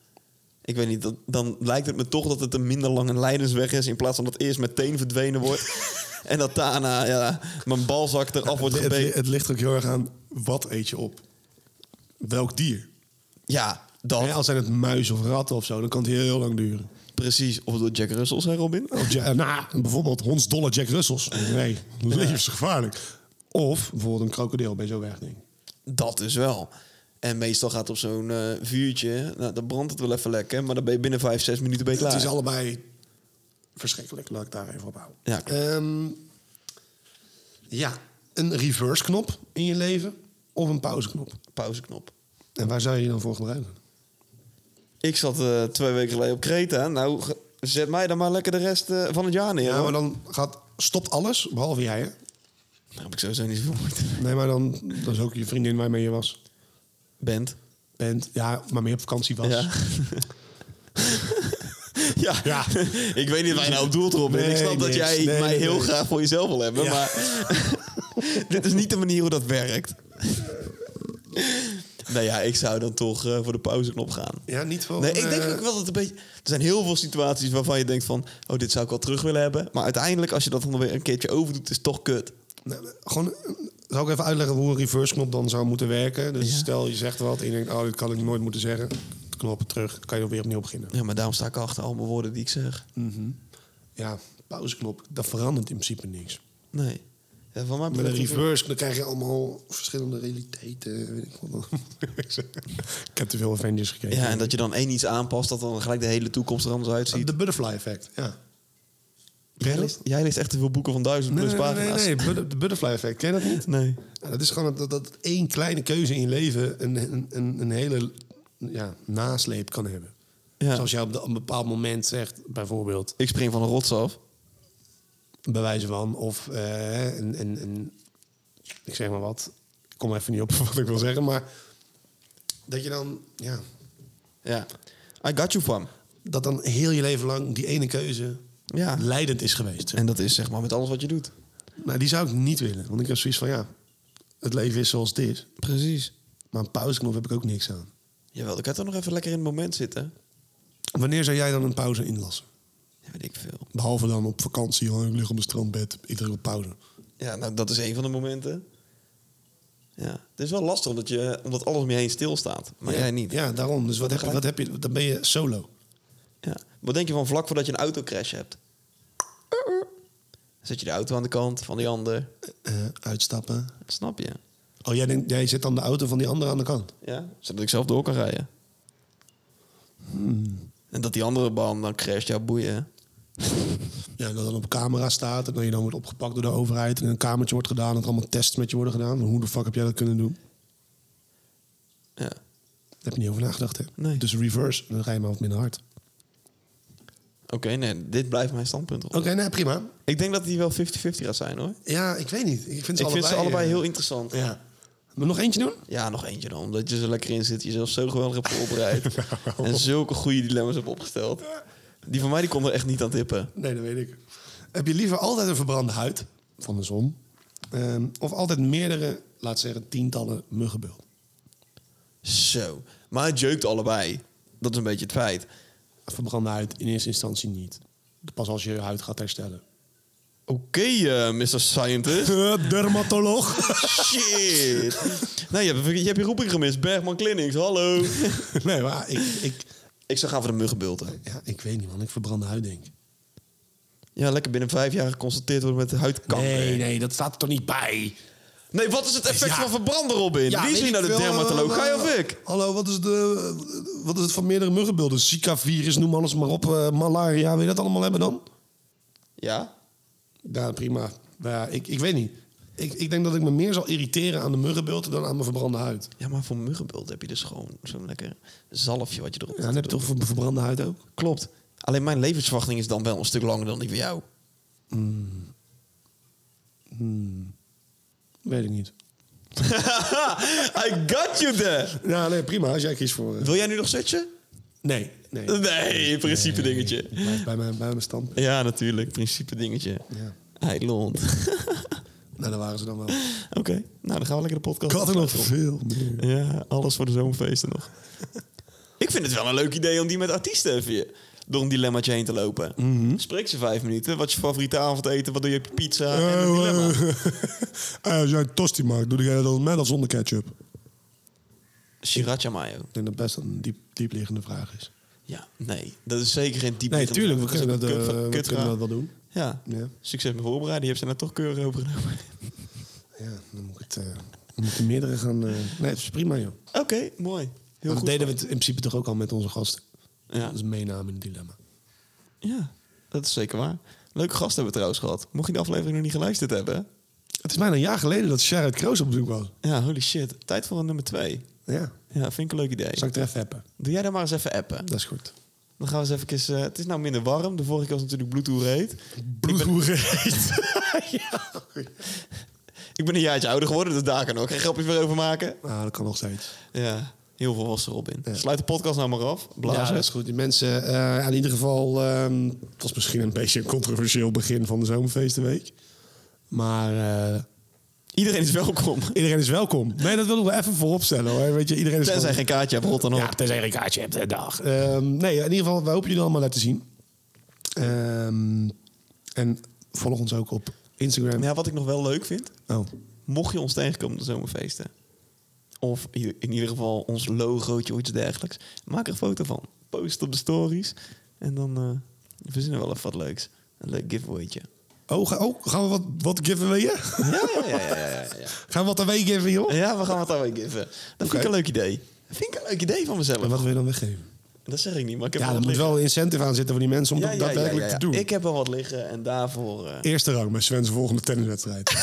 B: Ik weet niet, dat, dan lijkt het me toch dat het een minder lange leidensweg is... in plaats van dat het eerst meteen verdwenen wordt...
C: [LAUGHS]
B: en dat daarna ja, mijn balzak eraf wordt
C: het, het,
B: gebeten.
C: het ligt er ook heel erg aan, wat eet je op? Welk dier?
B: Ja, dat
C: Hè, als zijn het muis of ratten of zo, dan kan het heel, heel lang duren.
B: precies. Of door Jack Russell, zei Robin.
C: Of ja, nou, bijvoorbeeld hondsdolle Jack Russells. Nee, levensgevaarlijk. Of bijvoorbeeld een krokodil bij zo'n wegding.
B: Dat dus wel. En meestal gaat op zo'n eh, vuurtje, nou, dan brandt het wel even lekker... maar dan ben je binnen vijf, zes minuten ben je klaar.
C: Het is allebei verschrikkelijk. Laat ik daar even op houden.
B: Ja, klopt.
C: Ehm, ja, een reverse knop in je leven of een pauzeknop.
B: Pauzeknop.
C: En waar zou je die dan voor gebruiken?
B: Ik zat eh, twee weken geleden op Kreta. Nou, ge- zet mij dan maar lekker de rest eh, van het jaar neer.
C: Ja,
B: hoor.
C: maar dan gaat, stopt alles, behalve jij. Hè?
B: Daar heb ik sowieso niet zoveel moeite mee.
C: Nee, maar dan dat is ook je vriendin waarmee je was.
B: Bent.
C: Bent, ja, maar meer op vakantie was.
B: Ja. [LAUGHS] ja.
C: Ja.
B: ik weet niet waar je nou op doelt, Robin.
C: Nee,
B: ik snap dat
C: niks.
B: jij
C: Nee,
B: mij
C: nee,
B: heel
C: nee.
B: graag voor jezelf wil hebben,
C: Ja.
B: maar [LAUGHS] dit is niet de manier hoe dat werkt. nou ja, ik zou dan toch eh, voor de pauzeknop gaan.
C: Ja, niet voor.
B: Nee, ik denk
C: eh,
B: ook wel dat het een beetje... Er zijn heel veel situaties waarvan je denkt van... Oh, dit zou ik wel terug willen hebben. Maar uiteindelijk, als je dat dan weer een keertje overdoet, is het toch kut.
C: nou, gewoon, eh, zou ik even uitleggen hoe een reverse knop dan zou moeten werken? Dus stel je zegt wat en je denkt, oh, dit kan ik nooit moeten zeggen. Knoppen terug, kan je weer opnieuw beginnen.
B: Ja, maar daarom sta ik achter al mijn woorden die ik zeg.
C: Mm. Ja, pauzeknop, dat verandert in principe niks.
B: Nee. Ja, van mij
C: Met een
B: betreft-
C: reverse, dan krijg je allemaal verschillende realiteiten. Weet ik, wat. ik heb te veel Avengers gekeken.
B: Ja, en dat je dan één iets aanpast, dat dan gelijk de hele toekomst er anders uitziet.
C: Ah, De butterfly effect, ja.
B: Jij leest, jij leest echt te veel boeken van duizend
C: Nee,
B: plus
C: nee, nee, nee,
B: pagina's.
C: nee, but- de butterfly effect, ken je dat niet?
B: Nee.
C: Ja, Nou, dat is gewoon dat, dat één kleine keuze in je leven een, een, een, een hele ja, nasleep kan hebben.
B: Ja.
C: Zoals jij op, de- op een bepaald moment zegt, bijvoorbeeld,
B: Ik spring van een rots af.
C: bij wijze van, of eh, een, een, een, ik zeg maar wat, ik kom even niet op [LAUGHS] wat ik wil zeggen, maar dat je dan, ja,
B: Ja. I got you, fam.
C: dat dan heel je leven lang die ene keuze
B: Ja.
C: leidend is geweest.
B: En dat is zeg maar met alles wat je doet.
C: Nou, die zou ik niet willen. Want ik heb zoiets van, ja, het leven is zoals het is.
B: Precies.
C: Maar een pauzeknop heb ik ook niks aan.
B: Jawel, ik kan toch nog even lekker in het moment zitten.
C: Wanneer zou jij dan een pauze inlassen?
B: Ja, weet ik veel.
C: Behalve dan op vakantie, hoor. ik lig op mijn strandbed, ik druk op pauze.
B: Ja, nou, dat is een van de momenten. Ja. Het is wel lastig omdat, je, omdat alles om je heen stilstaat. Maar jij niet.
C: Ja, daarom. Dus wat heb, je- wat heb je, dan ben je solo.
B: Ja. Wat denk je van vlak voordat je een autocrash hebt? Zet je de auto aan de kant van die ander.
C: Eh, uitstappen.
B: Dat snap je.
C: Oh, jij, denkt, jij zet dan de auto van die andere aan de kant.
B: Ja. Zodat ik zelf door kan rijden.
C: Hmm.
B: En dat die andere baan dan crasht, ja boeien.
C: Ja, dat dan op camera staat en dat je dan wordt opgepakt door de overheid... en in een kamertje wordt gedaan, dat er allemaal tests met je worden gedaan. Hoe de fuck heb jij dat kunnen doen?
B: Ja.
C: Daar heb je niet over nagedacht, hè?
B: Nee.
C: Dus reverse, dan rij je maar wat minder hard.
B: Oké, nee, dit blijft mijn standpunt.
C: Oké, nee, prima.
B: Ik denk dat die wel 50-50 gaat zijn hoor.
C: Ja, ik weet niet. Ik vind ze
B: ik
C: allebei,
B: vind ze allebei
C: eh,
B: heel interessant. Ja.
C: Ja. Maar nog eentje doen?
B: nog eentje dan. Omdat je zo lekker in zit, jezelf zo geweldig hebt
C: [LAUGHS]
B: voorbereid. en zulke goede dilemma's hebt opgesteld. Die van mij die kon er echt niet aan tippen.
C: Nee, dat weet ik. Heb je liever altijd een verbrande huid van de zon? ehm, of altijd meerdere, laat zeggen, tientallen muggenbult?
B: Zo. Maar het jeukt allebei. Dat is een beetje het feit.
C: Verbrande huid in eerste instantie niet. Pas als je je huid gaat herstellen. [LAUGHS]
B: Oké, eh, Mr. Scientist.
C: Eh, dermatoloog.
B: Shit. nou, je hebt, je hebt je roeping gemist. Bergman Clinics, hallo.
C: [LAUGHS] nee, maar ik, ik,
B: ik zou gaan voor de muggenbulten.
C: ja, ik weet niet, man. Ik verbrande huid, denk ik.
B: Ja, lekker binnen vijf jaar geconstateerd worden met huidkanker.
C: Nee, nee, dat staat er toch niet bij.
B: Nee, wat is het effect
C: Ja.
B: van verbranden, Robin?
C: Ja,
B: Wie
C: weet
B: is hier
C: ik
B: nou de
C: veel,
B: dermatoloog?
C: eh,
B: Ga je of ik?
C: Hallo, wat is, de, wat is het van meerdere muggenbulten? Zika-virus, noem alles maar op. eh, malaria, wil je dat allemaal hebben dan?
B: Ja?
C: Ja, prima. Nou ja, ik, ik weet niet. Ik, ik denk dat ik me meer zal irriteren aan de muggenbulten dan aan mijn verbrande huid.
B: Ja, maar voor muggenbult heb je dus gewoon zo'n lekker zalfje wat je erop
C: Ja, dan heb je toch voor mijn verbrande huid ook?
B: Klopt. Alleen mijn levensverwachting is dan wel een stuk langer dan die van jou. [LAUGHS]
C: Weet ik niet.
B: I got you there!
C: Ja, nee, prima. Als jij kiest voor... eh,
B: Wil jij nu nog switchen?
C: Nee, nee.
B: Nee, in principe dingetje.
C: Blijf bij mijn, bij mijn standpunt.
B: Ja, natuurlijk. Principe dingetje.
C: Ja.
B: Eilond.
C: Nou, daar waren ze dan wel.
B: [LAUGHS] Oké, nou dan gaan we lekker de podcast
C: Ik had er nog veel meer.
B: Ja, alles voor de zomerfeesten nog. [LAUGHS] ik vind het wel een leuk idee om die met artiesten even je- door een dilemmaatje heen te lopen.
C: Mhm.
B: Spreek ze vijf minuten. Wat is je favoriete avondeten? Wat doe je op je
C: Oh,
B: pizza? en een dilemma.
C: als jij een tosti maakt, doe jij dat met of zonder ketchup? Ik
B: Sriracha mayo.
C: denk dat best een diep, diepliggende vraag is.
B: Ja, nee. Dat is zeker geen diep.
C: Nee, tuurlijk, we
B: is
C: kunnen
B: ook
C: dat,
B: een
C: eh,
B: kut-
C: we
B: kutvraag.
C: kunnen dat wel doen.
B: Ja.
C: Ja.
B: Succes met voorbereiden. Die hebben ze nou toch keurig overgenomen.
C: Ja, dan moet ik het... eh, dan moet ik de meerdere gaan... eh, Nee, het is prima, joh.
B: [LAUGHS] Oké, mooi. Heel
C: Maar
B: goed.
C: dat deden we het in principe toch ook al met onze gasten.
B: Ja.
C: Dat is een meename in het dilemma.
B: Ja, dat is zeker waar. Leuke gast hebben we trouwens gehad. Mocht je de aflevering nog niet geluisterd hebben.
C: Het is bijna een jaar geleden dat Sherrod Kroos op bezoek was.
B: Ja, holy shit. Tijd voor een nummer twee.
C: Ja.
B: Ja, vind ik een leuk idee.
C: Zal ik er even appen?
B: Doe jij daar maar eens even appen.
C: Dat is goed.
B: Dan gaan we eens even... eh, het is nou minder warm. De vorige keer was natuurlijk Bluetooth heet. [LAUGHS]
C: Bloedhoereet.
B: Ik ben een jaartje ouder geworden, dus daar kan ook geen grapjes meer over maken.
C: nou, dat kan nog steeds.
B: Ja, heel veel was erop in.
C: Ja.
B: Sluit de podcast nou maar af.
C: Ja,
B: Blazen.
C: dat is goed. Die mensen, eh, ja, in ieder geval, ehm, het was misschien een beetje een controversieel begin van de zomerfeestenweek. Maar eh,
B: Iedereen is welkom.
C: [LAUGHS] iedereen is welkom. Nee, dat wil ik wel even vooropstellen hoor. Weet je, iedereen is
B: Tenzij
C: gewoon-
B: geen kaartje hebt, rot dan op.
C: Ja, tenzij je een kaartje hebt, eh, dag. Ehm, nee, in ieder geval, wij hopen jullie allemaal laten zien. Ehm, en volg ons ook op Instagram.
B: Ja, wat ik nog wel leuk vind,
C: Oh.
B: mocht je ons tegenkomen op de zomerfeesten, of i- in ieder geval ons logootje of iets dergelijks, maak er een foto van. Post het op de stories en dan eh verzinnen we wel even wat leuks. Een leuk giveawaytje.
C: Oh, ga- oh, gaan we wat, wat giveaway'en?
B: Ja, ja, ja, ja, ja, ja.
C: [LAUGHS] gaan we wat away given, joh?
B: Ja, we gaan het daarmee given. Dat vind ik
C: Oké.
B: een leuk idee. Dat vind ik een leuk idee van mezelf.
C: En wat wil je dan weggeven?
B: Dat zeg ik niet, maar ik heb
C: Ja,
B: al
C: er
B: wat
C: moet
B: liggen.
C: wel een incentive aan zitten voor die mensen om
B: Ja,
C: dat
B: ja, ja,
C: daadwerkelijk
B: ja, ja.
C: te doen.
B: Ik heb al wat liggen en daarvoor... eh,
C: Eerste rang bij Sven's volgende tenniswedstrijd.
B: [LAUGHS]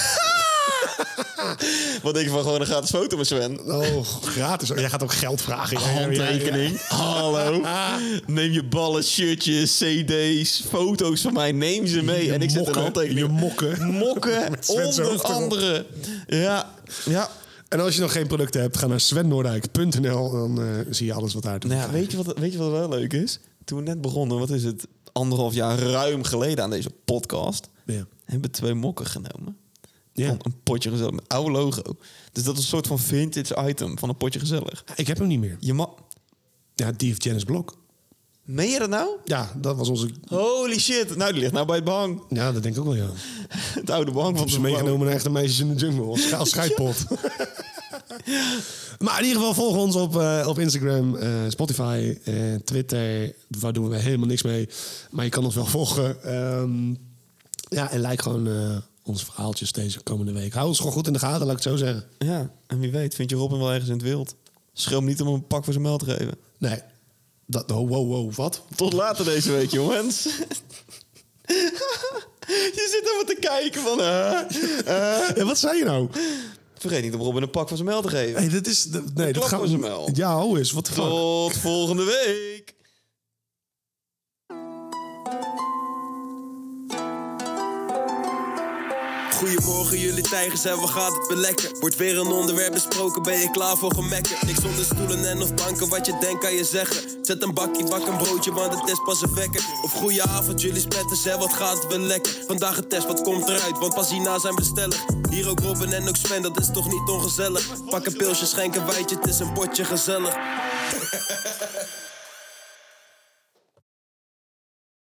B: wat denk je van gewoon een gratis foto met Sven?
C: oh, gratis. Jij gaat ook geld vragen. Ja, ja, ja, ja.
B: Handtekening. Hallo. [LAUGHS] Neem je ballen, shirtjes, cd's, foto's van mij. Neem ze mee.
C: Je
B: en ik zet een
C: mokken,
B: handtekening.
C: je mokken.
B: Mokken,
C: [LAUGHS] Met Sven's
B: onder
C: hoofd erop.
B: andere. Ja. ja.
C: En als je nog geen producten hebt, ga naar svennoordijk.nl. Dan eh, zie je alles wat daar te
B: Nou ja,
C: verkrijgen
B: weet je, wat, weet je wat wel leuk is? Toen toen we net begonnen, wat is het, anderhalf jaar ruim geleden aan deze podcast,
C: Ja.
B: hebben we twee mokken genomen.
C: Ja.
B: Van een potje gezellig met oude logo. Dus dat is een soort van vintage item van een potje gezellig.
C: Ik heb hem niet meer.
B: Je ma-
C: Ja, die heeft Janice Blok.
B: Meen je dat nou?
C: Ja, dat was onze...
B: Holy shit. Nou, die ligt nou bij het behang. [LAUGHS]
C: Ja, dat denk ik ook wel, ja.
B: Het oude behang van
C: Op ze
B: de gebouw.
C: meegenomen naar echte meisjes in de jungle.
B: [LAUGHS]
C: Als scha- als scheidpot. maar in ieder geval volg ons op, eh, op Instagram, eh, Spotify, eh, Twitter. Waar doen we helemaal niks mee. Maar je kan ons wel [LAUGHS] volgen. Ehm, ja, en like gewoon eh, onze verhaaltjes deze komende week. Hou ons gewoon goed in de gaten, laat ik het zo zeggen.
B: Ja, en wie weet vind je Robin wel ergens in het wild. Schreeuw hem niet om hem een pak voor zijn meld te geven.
C: Nee. Dat, oh, wow, wow, wat?
B: Tot later deze week, jongens. [LAUGHS] je zit helemaal te kijken van... eh, eh.
C: Ja, wat zei je nou?
B: Vergeet niet om Robin een pak voor zijn meld te geven.
C: Hey, dit is... dat- Nee, dat
B: klap
C: gaat...
B: was hem wel.
C: Ja, hoe is? Wat de fuck?
B: Tot volgende week.
A: Goedemorgen jullie tijgers en wat gaat het weer lekker? Wordt weer een onderwerp besproken, ben je klaar voor gemekken? Niks onder stoelen en of banken, wat je denkt kan je zeggen. Zet een bakkie, bak een broodje, want het is pas een wekker. Of goeie avond jullie spetters en wat gaat het weer lekker? Vandaag een test, wat komt eruit, want pas hierna zijn we stellig. Hier ook Robin en ook Sven, dat is toch niet ongezellig? Pak een pilsje, schenk een wijtje, het is een potje gezellig.